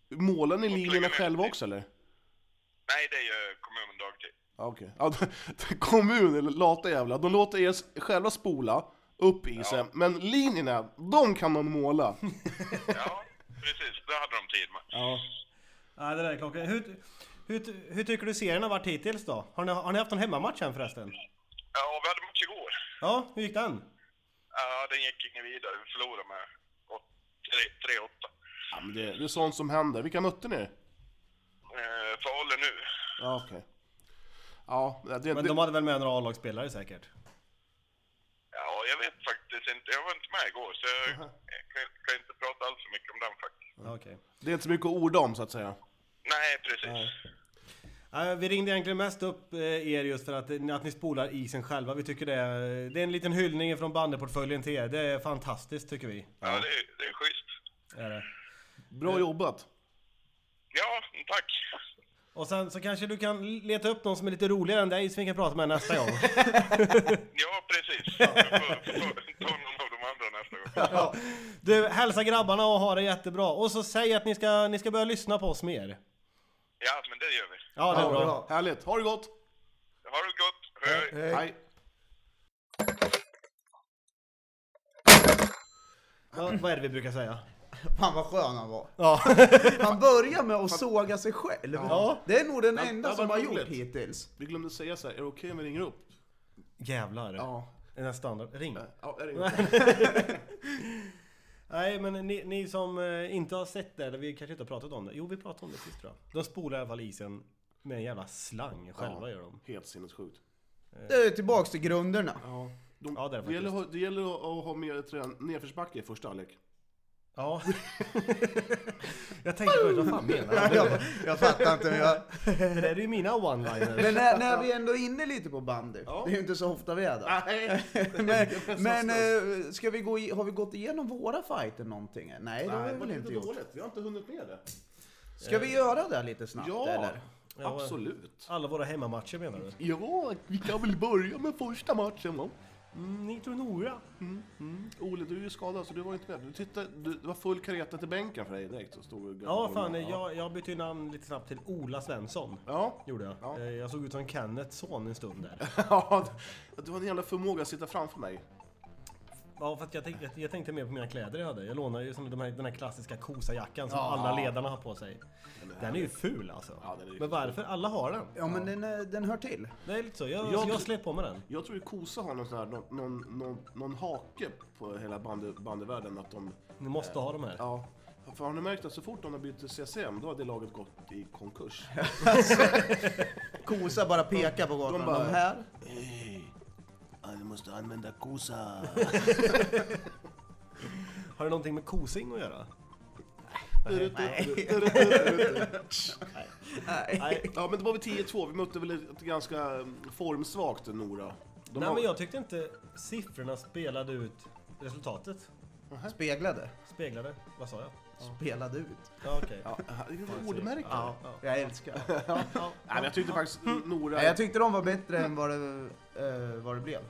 [SPEAKER 4] Målar ni
[SPEAKER 6] Och
[SPEAKER 4] linjerna
[SPEAKER 6] pluggar ner
[SPEAKER 4] själva
[SPEAKER 6] lite.
[SPEAKER 4] också eller?
[SPEAKER 6] nej, det gör kommunen dagtid.
[SPEAKER 4] Ja, Okej. Ja, kommun eller lata jävla. De låter er s- själva spola upp isen, men linjerna, de kan de måla.
[SPEAKER 6] Ja, precis. Det hade de tid med.
[SPEAKER 4] Ja.
[SPEAKER 1] Ja, det där är klockrent. Hur, hur, hur tycker du serien har varit hittills då? Har ni, har ni haft någon hemmamatch än förresten?
[SPEAKER 6] Ja, vi hade match igår.
[SPEAKER 1] Ja, hur gick den?
[SPEAKER 6] Ja, den gick ingen vidare. Vi förlorade med åt- tre- 3-8.
[SPEAKER 4] ja men det, det är sånt som händer. Vilka mötte ni?
[SPEAKER 6] Eh, Falun nu.
[SPEAKER 4] Ja okej. Ja, det, det,
[SPEAKER 1] Men de hade väl med några A-lagsspelare säkert?
[SPEAKER 6] Ja, jag vet faktiskt inte. Jag var inte med igår, så jag kan, kan inte prata alls så mycket om den faktiskt.
[SPEAKER 1] Ja, Okej.
[SPEAKER 4] det är inte så mycket att orda om så att säga.
[SPEAKER 6] Nej, precis.
[SPEAKER 1] Ja, Vi ringde egentligen mest upp eh, er just för att, eh, att ni spolar isen själva. Vi tycker det är, det är en liten hyllning från bandyportföljen till er. Det är fantastiskt tycker vi.
[SPEAKER 6] Ja, det, är- det är schysst.
[SPEAKER 1] Är det.
[SPEAKER 4] Bra jobbat.
[SPEAKER 6] Ja, tack.
[SPEAKER 1] Och sen så kanske du kan leta upp någon som är lite roligare än dig som vi kan prata med nästa gång.
[SPEAKER 6] Ja, precis. Jag får, får ta någon av de andra nästa gång.
[SPEAKER 1] Ja. Du, hälsa grabbarna och ha det jättebra. Och så säg att ni ska, ni ska börja lyssna på oss mer.
[SPEAKER 6] Ja, men det gör vi.
[SPEAKER 1] Ja, det är bra.
[SPEAKER 4] Härligt, ha det gott!
[SPEAKER 6] Ha det gott. Hej.
[SPEAKER 3] Hej.
[SPEAKER 4] Hej.
[SPEAKER 1] Ja, vad är det vi brukar säga?
[SPEAKER 3] Fan vad skön Typ han var.
[SPEAKER 1] Ja.
[SPEAKER 3] Han börjar med att såga sig själv.
[SPEAKER 1] Ja.
[SPEAKER 3] Det är nog den
[SPEAKER 4] Ja,
[SPEAKER 3] enda
[SPEAKER 4] det
[SPEAKER 3] som
[SPEAKER 4] var
[SPEAKER 3] har gjort
[SPEAKER 4] roligt.
[SPEAKER 3] hittills.
[SPEAKER 4] Vi glömde säga så här, är det okej om vi ringer upp?
[SPEAKER 1] Jävlar.
[SPEAKER 4] Ja.
[SPEAKER 1] Är den standard? Ring.
[SPEAKER 4] ja jag ringer upp.
[SPEAKER 1] Nej, men ni, ni som eh, inte har sett det, eller vi kanske inte har pratat om det. Jo, vi pratade om det sist tror jag. De spolar i alla fall isen med en jävla slang själva gör de.
[SPEAKER 4] Helt sinnessjukt.
[SPEAKER 3] Det är tillbaks till grunderna.
[SPEAKER 4] Ja. De,
[SPEAKER 1] Ja, det är det
[SPEAKER 4] det, gäller, att ha- det gäller att att ha mer trän- nedförsbacke i första halvlek.
[SPEAKER 1] Ja. jag tänkte först, vad fan menar han?
[SPEAKER 3] Jag, jag fattar inte. men Jag...
[SPEAKER 1] Det där är ju mina one-liners.
[SPEAKER 3] Men när, när vi ändå är inne lite på bandy. Det är ju inte så ofta vi är där.
[SPEAKER 4] Nej!
[SPEAKER 3] Men, men eh, ska vi gå i, har vi gått igenom våra fighter någonting? Nej, det har
[SPEAKER 4] Nej,
[SPEAKER 3] vi
[SPEAKER 4] det var
[SPEAKER 3] väl inte
[SPEAKER 4] lite
[SPEAKER 3] gjort.
[SPEAKER 4] dåligt. Jag har inte hunnit med det.
[SPEAKER 3] Ska vi göra det lite snabbt
[SPEAKER 4] Ja,
[SPEAKER 3] eller?
[SPEAKER 1] Ja.
[SPEAKER 4] absolut.
[SPEAKER 1] Alla våra hemmamatcher menar du?
[SPEAKER 4] Ja, vi kan väl börja med första matchen va?
[SPEAKER 1] Mm, ni tog Nora.
[SPEAKER 4] Ole, du är ju skadad så du var inte med. Du tittade, du, det var full kareta till bänken för dig direkt. Så stod
[SPEAKER 1] Ja, fan. Jag, jag bytte ju namn lite snabbt till Ola Svensson.
[SPEAKER 4] Ja,
[SPEAKER 1] Gjorde jag.
[SPEAKER 4] Ja.
[SPEAKER 1] Eh, Jag såg ut som Kenneths son en stund där.
[SPEAKER 4] Ja, du har en jävla förmåga att sitta framför mig.
[SPEAKER 1] Ja, för att jag, tänkte, jag, jag tänkte mer på mina kläder jag hade. Jag lånade ju som de här, den här klassiska kosajackan som alla ledarna har på sig. Den är ju ful alltså.
[SPEAKER 4] Ja, den är ju
[SPEAKER 1] men varför? Alla har den.
[SPEAKER 3] Ja, men den, eh, den hör till.
[SPEAKER 1] Det är lite så. Jag,
[SPEAKER 4] Jag-
[SPEAKER 1] jag slet på med den.
[SPEAKER 4] Jag tror ju Kosa har någon, sån här, någon, någon, någon, någon hake på hela bandy, bandyvärlden att de...
[SPEAKER 1] Ni måste ha de här.
[SPEAKER 4] Ja. För har ni märkt att så fort de har bytt till CCM, då har det laget gått i konkurs.
[SPEAKER 3] Kosa bara pekar på gatan.
[SPEAKER 4] de
[SPEAKER 3] De,
[SPEAKER 4] bara-
[SPEAKER 3] här.
[SPEAKER 4] Hej! Du måste använda Kosa!
[SPEAKER 1] Har det någonting med kosing att göra?
[SPEAKER 3] Nej.
[SPEAKER 4] ja, men det var väl 10-2. Vi mötte väl ett ganska mm, formsvagt Nora. De
[SPEAKER 1] Nej,
[SPEAKER 4] har-
[SPEAKER 1] men jag tyckte inte siffrorna spelade ut resultatet.
[SPEAKER 3] Speglade.
[SPEAKER 1] Speglade. Vad sa jag?
[SPEAKER 3] Spelade ut.
[SPEAKER 1] Ja, okej.
[SPEAKER 4] Ja, det är ett ordmärke.
[SPEAKER 3] Ja, jag älskar det.
[SPEAKER 1] Ja,
[SPEAKER 4] Nej, men jag tyckte faktiskt Nora...
[SPEAKER 3] Nej, Jag tyckte de var bättre än vad det, eh, vad det blev.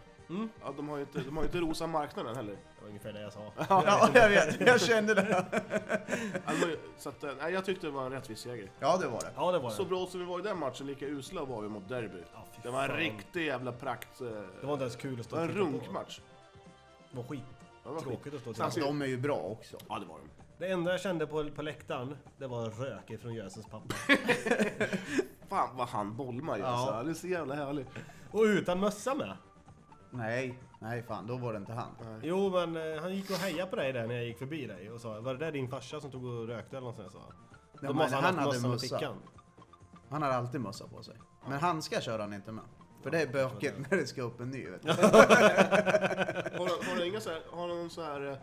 [SPEAKER 4] Ja, de har ju inte, de har ju inte rosa marknaden heller.
[SPEAKER 1] Det var ungefär det jag sa.
[SPEAKER 3] Ja, jag vet. Jag kände det.
[SPEAKER 4] Ja, de har ju- Så att, eh, nej, jag tyckte det var en rättvis seger.
[SPEAKER 3] Ja, det var det.
[SPEAKER 1] Ja, det var
[SPEAKER 4] Så
[SPEAKER 1] det.
[SPEAKER 4] bra som vi var i den matchen, lika usla var vi mot derby.
[SPEAKER 1] Ja, fy
[SPEAKER 4] Det var en
[SPEAKER 1] fan.
[SPEAKER 4] riktig jävla prakt... eh,
[SPEAKER 1] Det var inte ens kul att
[SPEAKER 4] det
[SPEAKER 1] stå
[SPEAKER 4] var
[SPEAKER 1] och
[SPEAKER 4] en
[SPEAKER 1] titta på.
[SPEAKER 4] runkmatch.
[SPEAKER 1] Det var skit.
[SPEAKER 4] Ja, det var
[SPEAKER 1] Tråkigt att stå och titta
[SPEAKER 3] Fast
[SPEAKER 1] på.
[SPEAKER 3] de är ju bra också.
[SPEAKER 4] Ja, det var de.
[SPEAKER 1] Det enda jag kände på, på läktaren, det var rök från Jösens pappa.
[SPEAKER 4] Fan vad han bolmar ju.
[SPEAKER 3] Ja.
[SPEAKER 4] alltså. Han är så jävla härlig.
[SPEAKER 1] Och utan mössa med.
[SPEAKER 3] Nej, nej fan, då var det inte han.
[SPEAKER 1] Jo, men eh, han gick och hejade på dig där när jag gick förbi dig och sa Var det där din farsa som tog och rökte eller något sånt?" jag sa. Då
[SPEAKER 3] men
[SPEAKER 1] måste han
[SPEAKER 3] han
[SPEAKER 1] ha haft
[SPEAKER 3] hade
[SPEAKER 1] mössan i
[SPEAKER 3] mössa.
[SPEAKER 1] fickan.
[SPEAKER 3] Han har alltid mössa på sig. Men handskar kör han inte med. För det är bökigt när det ska upp en ny. Vet du.
[SPEAKER 4] Har, har du inga så här, har du någon så här eh,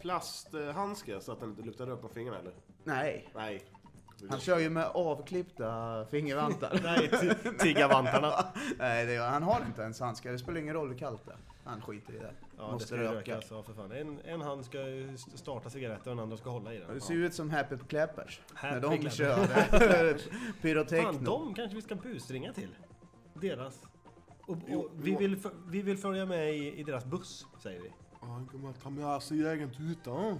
[SPEAKER 4] plasthandske så att den inte luktar rök på fingrarna eller?
[SPEAKER 3] Nej,
[SPEAKER 4] Nej.
[SPEAKER 3] han kör ju med avklippta fingervantar.
[SPEAKER 1] Nej, t- tiggarvantarna.
[SPEAKER 3] Nej, det gör, han har inte ens handskar. Det spelar ingen roll hur kallt det är. Han skiter i det.
[SPEAKER 1] Ja, det
[SPEAKER 3] Måste
[SPEAKER 1] ska ju
[SPEAKER 3] röka.
[SPEAKER 1] rökas. Ja, för fan. En, en hand ska ju st- starta cigaretten och den andra ska hålla i den.
[SPEAKER 3] Det ser ju ut som Happy Clappers.
[SPEAKER 1] Happy
[SPEAKER 3] när de
[SPEAKER 1] Clappers.
[SPEAKER 3] kör
[SPEAKER 1] Fan,
[SPEAKER 3] pyrotekno.
[SPEAKER 1] de kanske vi ska busringa till. Deras. Och, och vi, vill, f- vi vill följa med i, i deras buss, säger vi.
[SPEAKER 4] Han kommer ta med sig egen tuta.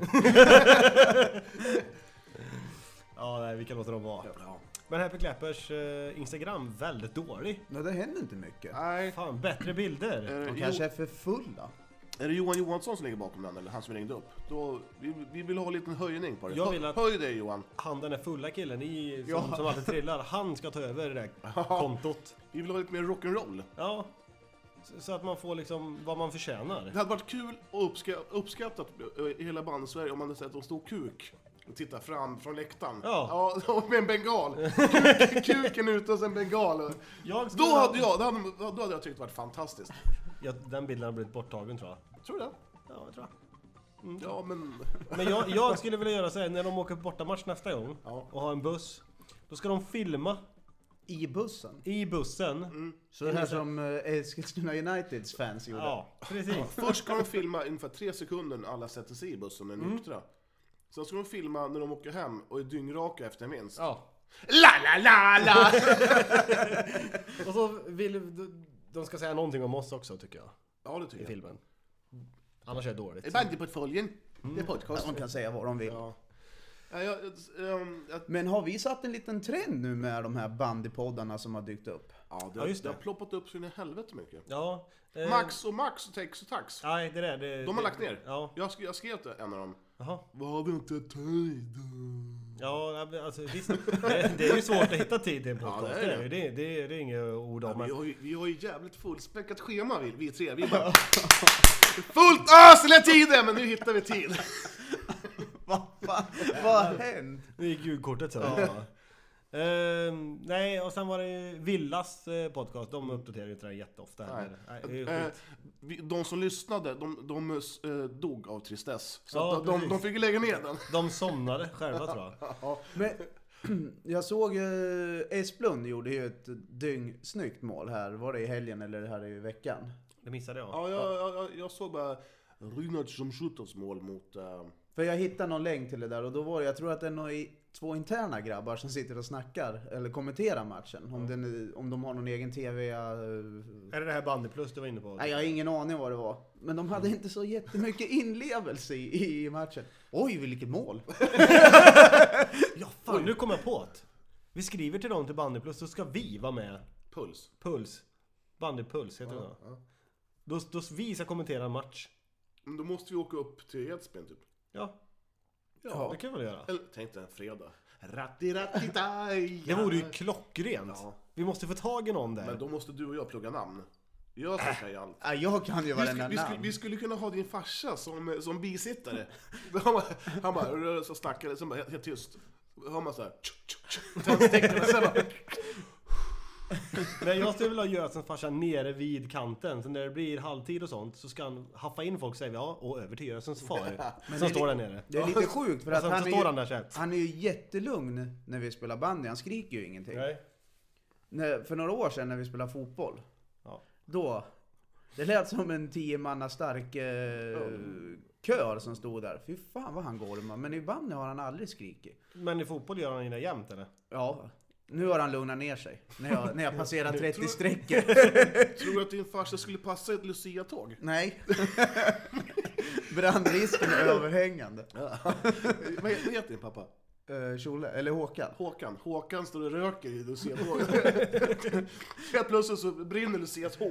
[SPEAKER 1] Ja, nej, vi kan låta dem vara.
[SPEAKER 4] Ja.
[SPEAKER 1] Men Happy Clappers eh, Instagram, väldigt dålig.
[SPEAKER 3] Nej, det händer inte mycket.
[SPEAKER 4] Nej. Eh.
[SPEAKER 1] Fan, bättre bilder.
[SPEAKER 4] Är det,
[SPEAKER 3] De kanske är för fulla.
[SPEAKER 4] är det Johan Johansson som ligger bakom den eller han som ringde upp? Då, vi, vi vill ha en liten höjning på det.
[SPEAKER 1] Jag vill att-
[SPEAKER 4] Höj dig Johan!
[SPEAKER 1] Han den där fulla killen i, som,
[SPEAKER 3] Ja.
[SPEAKER 1] som alltid trillar, han ska ta över det där kontot.
[SPEAKER 4] Vi vill ha lite mer rock'n'roll.
[SPEAKER 1] Ja. Så, så att man får liksom vad man förtjänar.
[SPEAKER 4] Det hade varit kul och uppska, uppskattat eh, i hela bandet Sverige om man hade sett en stor kuk och titta fram från läktaren.
[SPEAKER 1] Ja.
[SPEAKER 4] ja med en bengal. Kuk, kuken ute och sen bengal. och-
[SPEAKER 1] Jag skulle-
[SPEAKER 4] Då hade jag, då hade, då hade jag tyckt det varit fantastiskt.
[SPEAKER 1] Ja, den bilden har blivit borttagen tror jag.
[SPEAKER 4] Tror du det?
[SPEAKER 1] Ja, jag tror jag. Mm.
[SPEAKER 4] Ja, men...
[SPEAKER 1] Men jag, jag skulle vilja göra så här när de åker på bortamatch nästa gång
[SPEAKER 4] Ja.
[SPEAKER 1] och har en buss. Då ska de filma
[SPEAKER 3] I bussen.
[SPEAKER 1] i bussen.
[SPEAKER 4] Mm.
[SPEAKER 3] Så det här som eh, Eskilstuna Uniteds fans gjorde.
[SPEAKER 1] Ja, precis.
[SPEAKER 4] Först ska de filma ungefär tre sekunder när alla sätter sig i bussen och är
[SPEAKER 1] Mm.
[SPEAKER 4] nyktra. Sen ska de filma när de åker hem och är dyngraka efter en vinst.
[SPEAKER 1] Ja.
[SPEAKER 4] La, la, la, la!
[SPEAKER 1] Och så vill de- de ska säga någonting om oss också tycker jag.
[SPEAKER 4] Ja, det
[SPEAKER 1] I
[SPEAKER 4] tycker jag.
[SPEAKER 1] filmen. Annars är det dåligt.
[SPEAKER 4] Det är bandyportföljen. Det är podcast.
[SPEAKER 3] De kan säga vad de vill.
[SPEAKER 4] Ja. Mm. Ja, jag, ehm, jag,
[SPEAKER 3] Men har vi satt en liten trend nu med de här bandypoddarna som har dykt upp?
[SPEAKER 4] ja, det,
[SPEAKER 1] Ja, just
[SPEAKER 4] det
[SPEAKER 1] det.
[SPEAKER 4] har ploppat upp så in i helvete mycket.
[SPEAKER 1] Ja. eh,
[SPEAKER 4] Max och Max och Tex och Tax.
[SPEAKER 1] Nej, det där. Det,
[SPEAKER 4] De har
[SPEAKER 1] det-
[SPEAKER 4] lagt ner.
[SPEAKER 1] Ja.
[SPEAKER 4] Jag, sk- jag skrev till en av dem.
[SPEAKER 1] Jaha.
[SPEAKER 4] Vad har vi inte tid?
[SPEAKER 1] Ja, men alltså visst. Det, det är ju svårt att hitta tid till en
[SPEAKER 4] Ja,
[SPEAKER 1] podcast.
[SPEAKER 4] det
[SPEAKER 1] det,
[SPEAKER 4] är
[SPEAKER 1] är ju- det, det, det är inget ord om.
[SPEAKER 4] Vi
[SPEAKER 1] men-
[SPEAKER 4] har ju, vi har ju jävligt fullspäckat schema vi, vi tre. Vi är bara... Fullt ös hela tiden! Men nu hittar vi tid.
[SPEAKER 3] Vad fan? Vad har hänt?
[SPEAKER 1] Det gick ljudkortet sen. Ehm, nej, och sen var det ju Villas eh, podcast. De uppdaterar ju inte den jätteofta heller. Nej, det är ju
[SPEAKER 4] Eh,
[SPEAKER 1] skit.
[SPEAKER 4] vi- de som lyssnade, de, de eh, dog av tristess. Så
[SPEAKER 1] Ja,
[SPEAKER 4] att de, de,
[SPEAKER 1] precis.
[SPEAKER 4] de fick ju lägga ner den.
[SPEAKER 1] De somnade själva tror jag.
[SPEAKER 3] Men, jag såg ju... Esplund gjorde ju ett dyngsnyggt mål här. Var det i helgen eller det här i veckan?
[SPEAKER 1] Det missade jag.
[SPEAKER 4] Ja, jag, jag, jag, jag såg bara Rynard Somshutos mål mot... eh,
[SPEAKER 3] För jag hittade någon länk till det där och då var det, jag tror att det är någon, i- två interna grabbar som sitter och snackar eller kommenterar matchen. Om, det nu- om de har någon egen TV. Jag,
[SPEAKER 1] Är det det här Bandy Plus du var inne på?
[SPEAKER 3] Nej, jag har ingen aning vad det var. Men de
[SPEAKER 1] Mm.
[SPEAKER 3] hade inte så jättemycket inlevelse i, i matchen. Oj, vilket mål!
[SPEAKER 1] Ja, fan, nu kom jag på det. Vi skriver till dem till Bandy Plus, så ska vi vara med.
[SPEAKER 4] Puls.
[SPEAKER 1] Puls. Bandy Puls heter det då. Då, då vi ska kommentera en match.
[SPEAKER 4] Men då måste vi åka upp till Edsbyn typ.
[SPEAKER 1] Ja,
[SPEAKER 4] Ja.
[SPEAKER 1] det kan vi väl göra.
[SPEAKER 4] Eller, tänk dig en fredag. Ratti-ratti-taj.
[SPEAKER 1] Det vore ju klockrent.
[SPEAKER 4] Ja.
[SPEAKER 1] Vi måste få tag i någon där.
[SPEAKER 4] Men då måste du och jag plugga namn. Jag ska säga allt.
[SPEAKER 3] Ja, jag kan ju
[SPEAKER 4] Vi skulle,
[SPEAKER 3] varenda
[SPEAKER 4] vi, skulle,
[SPEAKER 3] namn.
[SPEAKER 4] vi skulle kunna ha din farsa som, som bisittare. Han bara, han bara rör- så snackade, sen bara helt, helt tyst. Då Hör man såhär... Tändstickorna, sen bara...
[SPEAKER 1] Nej, jag skulle vilja ha Gösens farsa nere vid kanten. Så när det blir halvtid och sånt så ska han haffa in folk säger vi ja, och över till Gösens far. som står där nere.
[SPEAKER 3] Det är lite sjukt för
[SPEAKER 1] Och
[SPEAKER 3] att
[SPEAKER 1] sen
[SPEAKER 3] han,
[SPEAKER 1] så
[SPEAKER 3] är
[SPEAKER 1] står
[SPEAKER 3] ju,
[SPEAKER 1] han där så här.
[SPEAKER 3] han är ju jättelugn när vi spelar bandy. Han skriker ju ingenting.
[SPEAKER 1] Nej.
[SPEAKER 3] När, för några år sedan när vi spelade fotboll,
[SPEAKER 1] Ja.
[SPEAKER 3] då... Det lät som en tio manna stark eh, kör som stod där. Fy fan vad han gormar. Men i bandy har han aldrig skrikit.
[SPEAKER 1] Men i fotboll gör han ju det jämt eller?
[SPEAKER 3] Ja, Nu har han lugnat ner sig. När jag, när jag passerar 30 strecket.
[SPEAKER 4] Tror du att din farsa skulle passa i ett Lucia-tåg?
[SPEAKER 3] Nej. Brandrisken är överhängande.
[SPEAKER 4] Vad he- vad heter din pappa?
[SPEAKER 3] Uh, Kjole, eller Håkan.
[SPEAKER 4] Håkan. Håkan står och röker i Lucia-tåget. Helt plötsligt så brinner Lucias hår.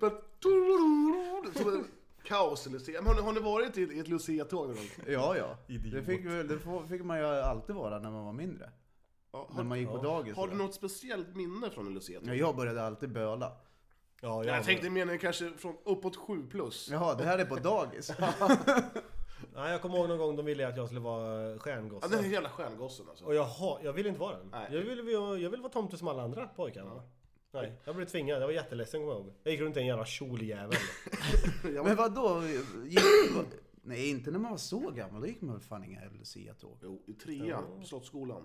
[SPEAKER 4] Bara- Som en Kaos i Lucia. Men Har ni, har ni varit i i ett Lucia-tåg någon gång?
[SPEAKER 3] Ja, ja. Det
[SPEAKER 1] Idiot.
[SPEAKER 3] fick, väl- det få- fick man ju alltid vara när man var mindre.
[SPEAKER 4] Ja,
[SPEAKER 3] När
[SPEAKER 4] har,
[SPEAKER 3] man gick på dagis.
[SPEAKER 4] har du
[SPEAKER 3] då.
[SPEAKER 4] något speciellt minne från en Lucia-tåg?
[SPEAKER 3] Ja, jag började alltid böla.
[SPEAKER 1] Ja, jag,
[SPEAKER 4] Jag tänkte meningen kanske från uppåt 7 plus.
[SPEAKER 3] Jaha, det här är på dagis.
[SPEAKER 1] Nej, jag kommer ihåg någon gång de ville att jag skulle vara
[SPEAKER 4] Ja,
[SPEAKER 1] stjärngosse.
[SPEAKER 4] den här jävla stjärngossen alltså.
[SPEAKER 1] Och jag, ha, jag vill inte vara den.
[SPEAKER 4] Nej.
[SPEAKER 1] Jag vill, jag, jag vill vara tomte som alla andra pojkar. Nej, jag blev tvingad. Jag var jätteledsen kommer jag ihåg. Jag gick runt i en jävla kjoljävel.
[SPEAKER 3] Men vad då? Gick... Nej, inte när man var så gammal. Då gick man väl fan inga Lucia-tåg.
[SPEAKER 4] Jo, i trean på Slottsskolan.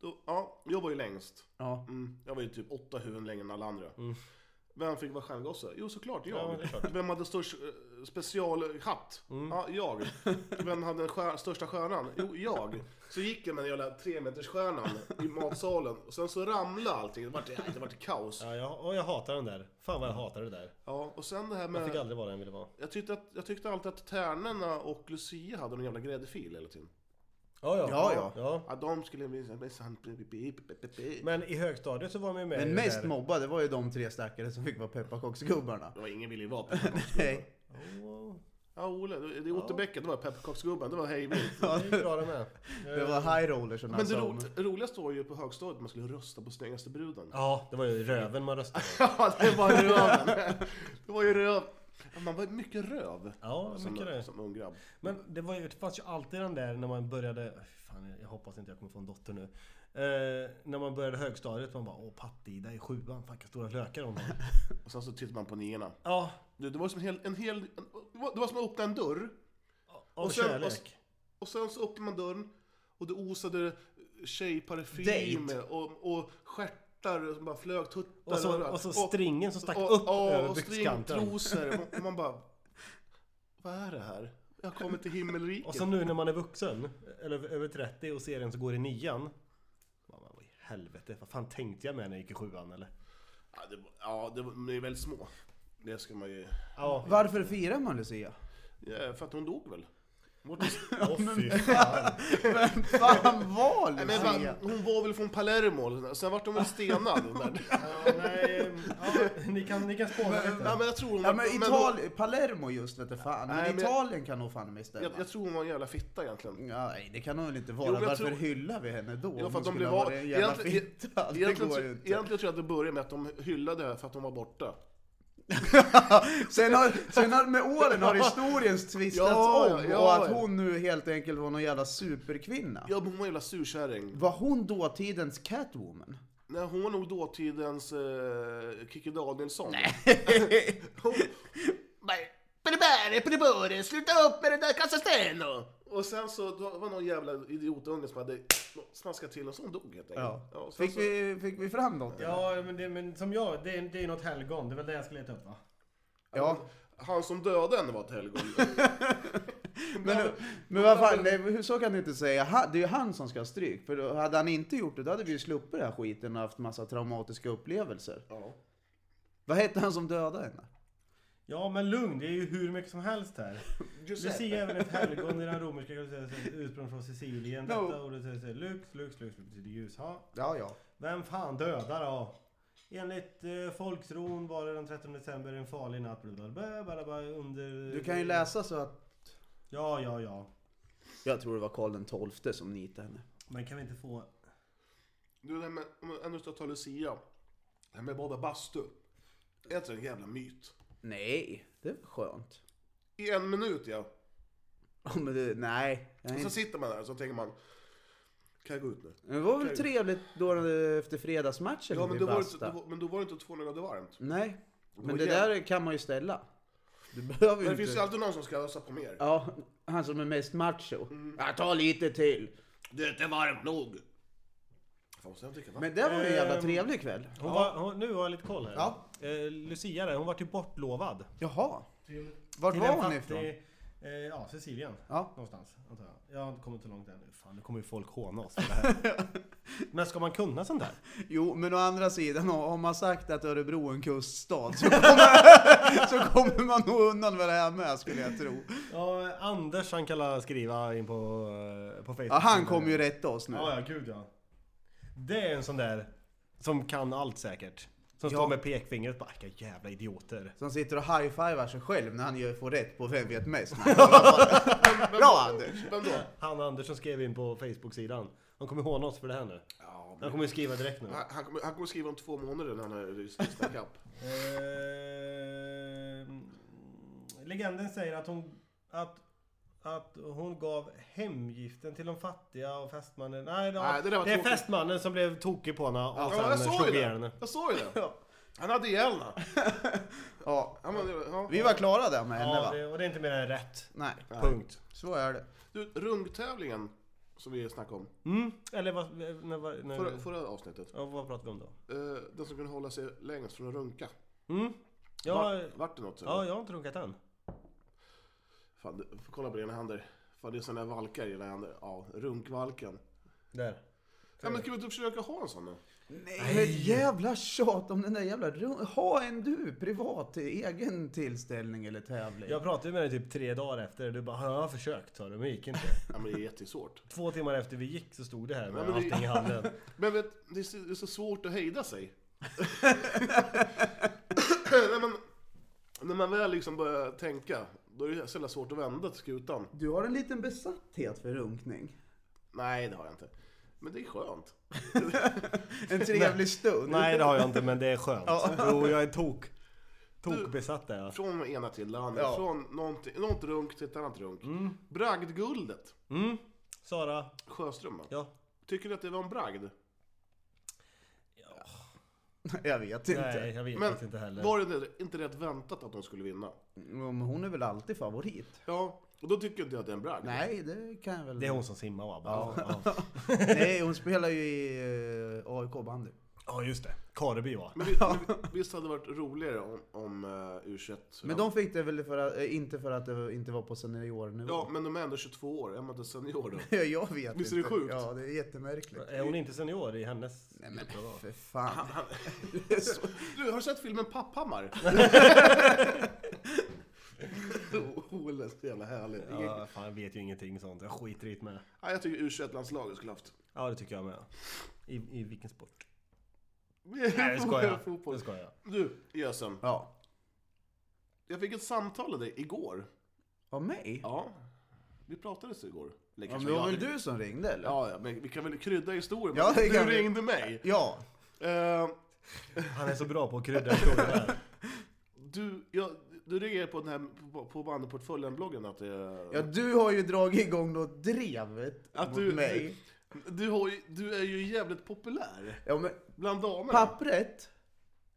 [SPEAKER 4] Då, ja, jag var ju längst.
[SPEAKER 3] Ja.
[SPEAKER 4] Mm, jag var ju typ åtta huvuden längre än alla andra. Vem fick vara stjärngosse? Jo, såklart jag.
[SPEAKER 1] Ja, men det är klart. Mm.
[SPEAKER 4] Vem hade störst eh, specialhatt? Ja, jag. Vem hade den stjär, största stjärnan? Jo, jag. Så gick jag med den jävla tremetersstjärnan i matsalen. Och sen så ramlade allting. Det vart, det vart kaos.
[SPEAKER 1] Ja, jag, och jag hatar den där. Fan
[SPEAKER 4] Mm.
[SPEAKER 1] vad jag hatar det där.
[SPEAKER 4] Ja, och sen det här
[SPEAKER 1] Jag fick
[SPEAKER 4] med...
[SPEAKER 1] aldrig vara den jag ville vara.
[SPEAKER 4] Jag tyckte, att, jag tyckte alltid att tärnorna och Lucia hade någon jävla gräddfil hela tiden.
[SPEAKER 1] Ja, ja.
[SPEAKER 3] Ja, ja.
[SPEAKER 1] ja.
[SPEAKER 4] Ja, de skulle bli...
[SPEAKER 1] Men i högstadiet så var man ju med i
[SPEAKER 3] Men
[SPEAKER 1] det
[SPEAKER 3] mest
[SPEAKER 1] där-
[SPEAKER 3] mobbade var ju de tre stackare som fick vara pepparkaksgubbarna.
[SPEAKER 4] Det var ingen ville ju vara pepparkaksgubbe.
[SPEAKER 3] Nej.
[SPEAKER 1] Wow.
[SPEAKER 4] Ja, Olle. Det det är Otterbäcken, det var pepparkaksgubben. Det var hej vilt.
[SPEAKER 1] Det gick bra det med.
[SPEAKER 3] Det var high rollers som
[SPEAKER 4] Men
[SPEAKER 1] Alltså,
[SPEAKER 3] han
[SPEAKER 4] det
[SPEAKER 3] sa
[SPEAKER 4] ro
[SPEAKER 3] om.
[SPEAKER 4] roligaste var ju på högstadiet att man skulle rösta på snyggaste bruden.
[SPEAKER 1] Ja, det var ju röven man röstade på.
[SPEAKER 4] Ja, det var röven. Det var ju röv. Ja, Man var ju mycket röv.
[SPEAKER 1] Ja,
[SPEAKER 4] som,
[SPEAKER 1] mycket det.
[SPEAKER 4] Som ung grabb.
[SPEAKER 1] Men det, var ju, det fanns ju alltid den där när man började... Fan, jag hoppas inte jag kommer få en dotter nu. Eh, när man började högstadiet, man bara Åh, Patte-Ida i sjuan, fan vilka stora lökar hon har.
[SPEAKER 4] Och sen så tittade man på niorna.
[SPEAKER 1] Ja,
[SPEAKER 4] Du, det var som en hel... En hel en, det var- det var som att öppna en dörr.
[SPEAKER 1] av
[SPEAKER 4] Och sen- och s-
[SPEAKER 1] kärlek.
[SPEAKER 4] Och sen så öppnade man dörren. Och det osade tjejparfym.
[SPEAKER 3] Date.
[SPEAKER 4] Och, och stjärtar som bara flög. Tuttar
[SPEAKER 1] Och, så,
[SPEAKER 4] överallt.
[SPEAKER 1] och så stringen som stack upp över
[SPEAKER 4] och
[SPEAKER 1] byxkanten.
[SPEAKER 4] stringtrosor. Och man bara... Vad är det här? Jag har kommit till himmelriket.
[SPEAKER 1] Och som nu när man är vuxen, eller över- över 30 och ser en som går i nian. Man bara, vad i helvete, vad fan tänkte jag med när jag gick i sjuan eller?
[SPEAKER 4] Ja, det, var- ja det, var- de är väldigt små. Det ska man ju...
[SPEAKER 1] Ja,
[SPEAKER 3] Varför firar man Lucia?
[SPEAKER 4] Ja, för att hon dog väl? Vart är-
[SPEAKER 1] åh fy fan.
[SPEAKER 3] Vem fan var
[SPEAKER 4] Nej, men fan,
[SPEAKER 3] Lucia?
[SPEAKER 4] hon var väl från Palermo, eller sådär. sen vart hon väl stenad? hon där.
[SPEAKER 1] Ja, nej, ehm, ja, ni, kan, ni kan spåna
[SPEAKER 4] Ja,
[SPEAKER 1] lite.
[SPEAKER 4] men jag tror hon
[SPEAKER 3] Ja
[SPEAKER 4] var,
[SPEAKER 3] men
[SPEAKER 4] hon,
[SPEAKER 3] Italien, Palermo just vet du fan. Men
[SPEAKER 4] Nej, men-
[SPEAKER 3] Italien kan nog fan mig
[SPEAKER 4] jag,
[SPEAKER 3] stämma.
[SPEAKER 4] jag tror hon var en jävla fitta egentligen.
[SPEAKER 3] Ja, nej det kan hon väl inte
[SPEAKER 4] Jo,
[SPEAKER 3] vara.
[SPEAKER 4] men jag
[SPEAKER 3] Varför
[SPEAKER 4] tror-
[SPEAKER 3] hyllar vi henne då?
[SPEAKER 4] Ja,
[SPEAKER 3] Om Mm. hon
[SPEAKER 4] för att de
[SPEAKER 3] skulle
[SPEAKER 4] blev
[SPEAKER 3] ha
[SPEAKER 4] av...
[SPEAKER 3] varit en jävla
[SPEAKER 4] Egentligen,
[SPEAKER 3] fitta. Det
[SPEAKER 4] egentligen,
[SPEAKER 3] går ju
[SPEAKER 4] egentligen
[SPEAKER 3] inte.
[SPEAKER 4] tror jag att det började med att de hyllade henne för att hon var borta.
[SPEAKER 3] Sen, har, sen har, med åren har historiens twistats
[SPEAKER 4] Ja,
[SPEAKER 3] om
[SPEAKER 4] ja,
[SPEAKER 3] och att
[SPEAKER 4] ja.
[SPEAKER 3] hon nu helt enkelt var någon jävla superkvinna.
[SPEAKER 4] Ja, men hon var en jävla surkärring.
[SPEAKER 3] Var hon dåtidens Catwoman?
[SPEAKER 4] Nej, hon var nog dåtidens eh, Kikki Danielsson. Hon- Nej. Peribere, peribere, sluta upp med det där Casasteno! Och sen så då var någon jävla idiotunge som hade smaskat till och så hon dog helt enkelt.
[SPEAKER 3] Ja.
[SPEAKER 4] och sen
[SPEAKER 3] Fick
[SPEAKER 4] så,
[SPEAKER 3] vi, fick vi fram något? eller?
[SPEAKER 1] Ja, men, det, men som jag, det är, det är något helgon. Det är väl det jag ska leta upp va?
[SPEAKER 3] ja.
[SPEAKER 4] Han som dödade henne var ett helgon.
[SPEAKER 3] Men, men vad fan, nej, hur så kan du inte säga. Ha- Det är ju han som ska ha stryk. För då- hade han inte gjort det, då hade vi ju sluppit den här skiten och haft massa traumatiska upplevelser.
[SPEAKER 4] ja.
[SPEAKER 3] Vad hette han som dödade henne?
[SPEAKER 1] Ja, men lugn. Det är ju hur mycket som helst här. Lucia är även ett helgon i den romerska kulturen som ursprung från Sicilien.
[SPEAKER 3] No.
[SPEAKER 1] Detta ordet säger sig lux, lux, lux betyder ljus. Ja.
[SPEAKER 3] Ja, ja.
[SPEAKER 1] Vem fan dödar då? Enligt eh, folktron var det den 13 december en farlig natt. Blablabla, blablabla, under...
[SPEAKER 3] Du kan ju läsa så att...
[SPEAKER 1] Ja, ja, ja.
[SPEAKER 3] Jag tror det var Karl den XII som nitade henne.
[SPEAKER 1] Men kan vi inte få...
[SPEAKER 4] Du, det här med, om jag ändå ska ta Lucia. Det här med bada bastu. Är inte det en jävla myt?
[SPEAKER 3] Nej, det var skönt.
[SPEAKER 4] I en minut ja.
[SPEAKER 3] Ja, men det, nej. Jag är
[SPEAKER 4] Och så
[SPEAKER 3] inte-
[SPEAKER 4] sitter man där och så tänker man. Kan jag gå ut nu?
[SPEAKER 3] Det var väl trevligt då efter fredagsmatchen
[SPEAKER 4] Ja, men,
[SPEAKER 3] i
[SPEAKER 4] då var det,
[SPEAKER 3] Basta. Mm.
[SPEAKER 4] inte- det var, men då var det inte 200 grader varmt.
[SPEAKER 3] Nej, men
[SPEAKER 4] var
[SPEAKER 3] det
[SPEAKER 4] jävla-
[SPEAKER 3] där kan man ju ställa. Du behöver ju
[SPEAKER 4] Men det
[SPEAKER 3] inte...
[SPEAKER 4] finns ju alltid någon som ska ösa på mer.
[SPEAKER 3] Ja, han som är mest macho. Ja, ta lite till.
[SPEAKER 4] Det är inte varmt nog. Fan, måste jag dricka vatten?
[SPEAKER 3] Men det var ju en jävla
[SPEAKER 1] Ehm.
[SPEAKER 3] trevlig kväll.
[SPEAKER 1] Hon var, hon, nu har jag lite koll här.
[SPEAKER 3] Ja.
[SPEAKER 1] Eh, Lucia där, hon vart ju bortlovad.
[SPEAKER 3] Jaha. Vart
[SPEAKER 1] Till
[SPEAKER 3] var
[SPEAKER 1] en
[SPEAKER 3] hon
[SPEAKER 1] fattig-
[SPEAKER 3] ifrån?
[SPEAKER 1] Eh, ja, Sicilien.
[SPEAKER 3] Ja.
[SPEAKER 1] Någonstans, antar jag. Jag har inte kommit så långt än. Fan, nu kommer ju folk håna oss för det här. Men ska man kunna sånt där?
[SPEAKER 3] Jo, men å andra sidan, om man sagt att Örebro är en kuststad så kommer, så kommer man nog undan med det här med skulle jag tro.
[SPEAKER 1] Ja, Anders han kan la skriva in på, eh, på Facebook.
[SPEAKER 3] Ja, han kommer ju rätta oss nu.
[SPEAKER 1] Ja, ja, gud ja. Det är en sån där som kan allt säkert. Som
[SPEAKER 3] Ja.
[SPEAKER 1] står med pekfingret och bara, "Vilka jävla idioter.
[SPEAKER 3] Som sitter och high-fivar sig själv när han ju får rätt på Vem vet mest? Bra Anders!
[SPEAKER 4] Vem då?
[SPEAKER 1] Han Anders som skrev in på Facebook-sidan. Han kommer håna oss för det här nu.
[SPEAKER 4] Ja, men-
[SPEAKER 1] Han kommer ju skriva direkt nu.
[SPEAKER 4] han, han, kommer, han kommer skriva om två månader när han är Snacka kapp.
[SPEAKER 1] Ehm, legenden säger att hon, att, att hon gav hemgiften till de fattiga och fästmannen. Nej, det,
[SPEAKER 4] Nej, det där var
[SPEAKER 1] det är
[SPEAKER 4] tråkigt.
[SPEAKER 1] fästmannen som blev tokig på henne och
[SPEAKER 3] Alltså,
[SPEAKER 4] Ja,
[SPEAKER 1] sen
[SPEAKER 4] jag såg ju
[SPEAKER 1] slog ihjäl
[SPEAKER 4] det!
[SPEAKER 1] henne.
[SPEAKER 4] Jag såg ju det! Han hade ihjäl henne.
[SPEAKER 3] Ja,
[SPEAKER 4] Han var- ja.
[SPEAKER 3] vi var klara där med henne
[SPEAKER 1] Ja,
[SPEAKER 3] va?
[SPEAKER 1] det, och det är inte mer än rätt.
[SPEAKER 3] Nej,
[SPEAKER 1] Punkt.
[SPEAKER 3] så är det.
[SPEAKER 4] Du, rungtävlingen som vi snackade om
[SPEAKER 1] Mm. Eller vad, när, var-
[SPEAKER 3] Mm.
[SPEAKER 1] när,
[SPEAKER 4] förra, förra avsnittet.
[SPEAKER 1] ja, vad pratade vi om då?
[SPEAKER 4] Eh, den som kunde hålla sig längst från att runka.
[SPEAKER 1] Mm. Ja,
[SPEAKER 4] Vart, vart det något?
[SPEAKER 1] ja,
[SPEAKER 4] Ja.
[SPEAKER 1] jag har inte runkat än.
[SPEAKER 4] Fan, du, får kolla på dina händer. Fan, det är sådana där valkar i dina händer. Ja, runkvalken.
[SPEAKER 1] Där.
[SPEAKER 4] Ja, men ska vi inte försöka ha en sån nu?
[SPEAKER 3] Nej, men jävla tjat om den där jävla rum- Ha en du privat egen tillställning eller tävling.
[SPEAKER 1] Jag pratade med dig typ tre dagar efter. Du bara, "Ja, jag har försökt sa du, men gick inte.
[SPEAKER 4] Ja, men det är jättesvårt.
[SPEAKER 1] Två timmar efter vi gick så stod det här med
[SPEAKER 4] Ja, men det-
[SPEAKER 1] allting i handen.
[SPEAKER 4] Men vet, det är så, det är så svårt att hejda sig. Nej, men, när man väl liksom börjar tänka, då är det så jävla svårt att vända till skutan.
[SPEAKER 3] Du har en liten besatthet för runkning.
[SPEAKER 4] Nej, det har jag inte. Men det är skönt.
[SPEAKER 3] En trevlig stund.
[SPEAKER 1] Nej det har jag inte men det är skönt. Jo jag är tok. Tokbesatt är jag.
[SPEAKER 4] Från ena till det andra.
[SPEAKER 3] Ja.
[SPEAKER 4] Från någonting, något runk till ett annat runk. Bragdguldet.
[SPEAKER 1] Mm. Sara.
[SPEAKER 4] Sjöström då?
[SPEAKER 1] Ja.
[SPEAKER 4] Tycker du att det var en bragd?
[SPEAKER 3] Jag vet inte.
[SPEAKER 1] Nej jag vet
[SPEAKER 4] Men
[SPEAKER 1] faktiskt inte heller.
[SPEAKER 4] var det inte rätt väntat att de skulle vinna?
[SPEAKER 3] Men hon är väl alltid favorit?
[SPEAKER 4] Ja, och då tycker inte jag att det är en bragd.
[SPEAKER 3] Nej, det kan jag väl...
[SPEAKER 1] Det är hon som simmar va? Ja, ja.
[SPEAKER 3] Nej, hon spelar ju i eh, AIK bandy.
[SPEAKER 1] ja just det. Kareby va?
[SPEAKER 4] Men, vi, men vi- visst hade det varit roligare om, om uh, U21?
[SPEAKER 3] Men de fick det väl för att, eh, inte för att det inte var på seniornivå?
[SPEAKER 4] Ja, men de är ändå 22 år. Är man inte senior då?
[SPEAKER 3] jag vet
[SPEAKER 4] Visst
[SPEAKER 3] inte.
[SPEAKER 4] är det sjukt?
[SPEAKER 3] Ja, det är jättemärkligt.
[SPEAKER 1] Är hon inte senior i hennes
[SPEAKER 3] Nej men
[SPEAKER 1] grupp, va?
[SPEAKER 3] för fan.
[SPEAKER 4] Du, har du sett filmen Papphammar? Ole, är så jävla härligt. Ja.
[SPEAKER 1] Ja, fan jag vet ju ingenting sånt. Jag skiter i det med.
[SPEAKER 4] jag tycker U21-landslaget skulle haft...
[SPEAKER 1] Ja det tycker jag med. I, i vilken sport? Nej jag skojar.
[SPEAKER 4] Fotboll.
[SPEAKER 1] Jag skojar.
[SPEAKER 4] Du, Gösen.
[SPEAKER 3] Ja.
[SPEAKER 4] Jag fick ett samtal av dig igår.
[SPEAKER 3] Av mig?
[SPEAKER 4] Ja. Vi pratades igår. Eller
[SPEAKER 3] Ja, men
[SPEAKER 4] kanske
[SPEAKER 3] det var
[SPEAKER 4] jag
[SPEAKER 3] väl
[SPEAKER 4] ringde.
[SPEAKER 3] du som ringde eller?
[SPEAKER 4] Ja, ja, men vi kan väl krydda historien.
[SPEAKER 3] Ja, det
[SPEAKER 4] du
[SPEAKER 3] kan vi.
[SPEAKER 4] ringde mig.
[SPEAKER 3] Ja.
[SPEAKER 4] Eh,
[SPEAKER 1] Han är så bra på att krydda historier här.
[SPEAKER 4] du, ja, du reagerade på den här på, på bandyportföljen-bloggen att eh, det...
[SPEAKER 3] Ja, du har ju dragit igång något drevet
[SPEAKER 4] Att
[SPEAKER 3] mot
[SPEAKER 4] du-
[SPEAKER 3] mig.
[SPEAKER 4] Du, du, har ju, du är ju jävligt populär
[SPEAKER 3] Ja, men
[SPEAKER 4] bland damerna.
[SPEAKER 3] pappret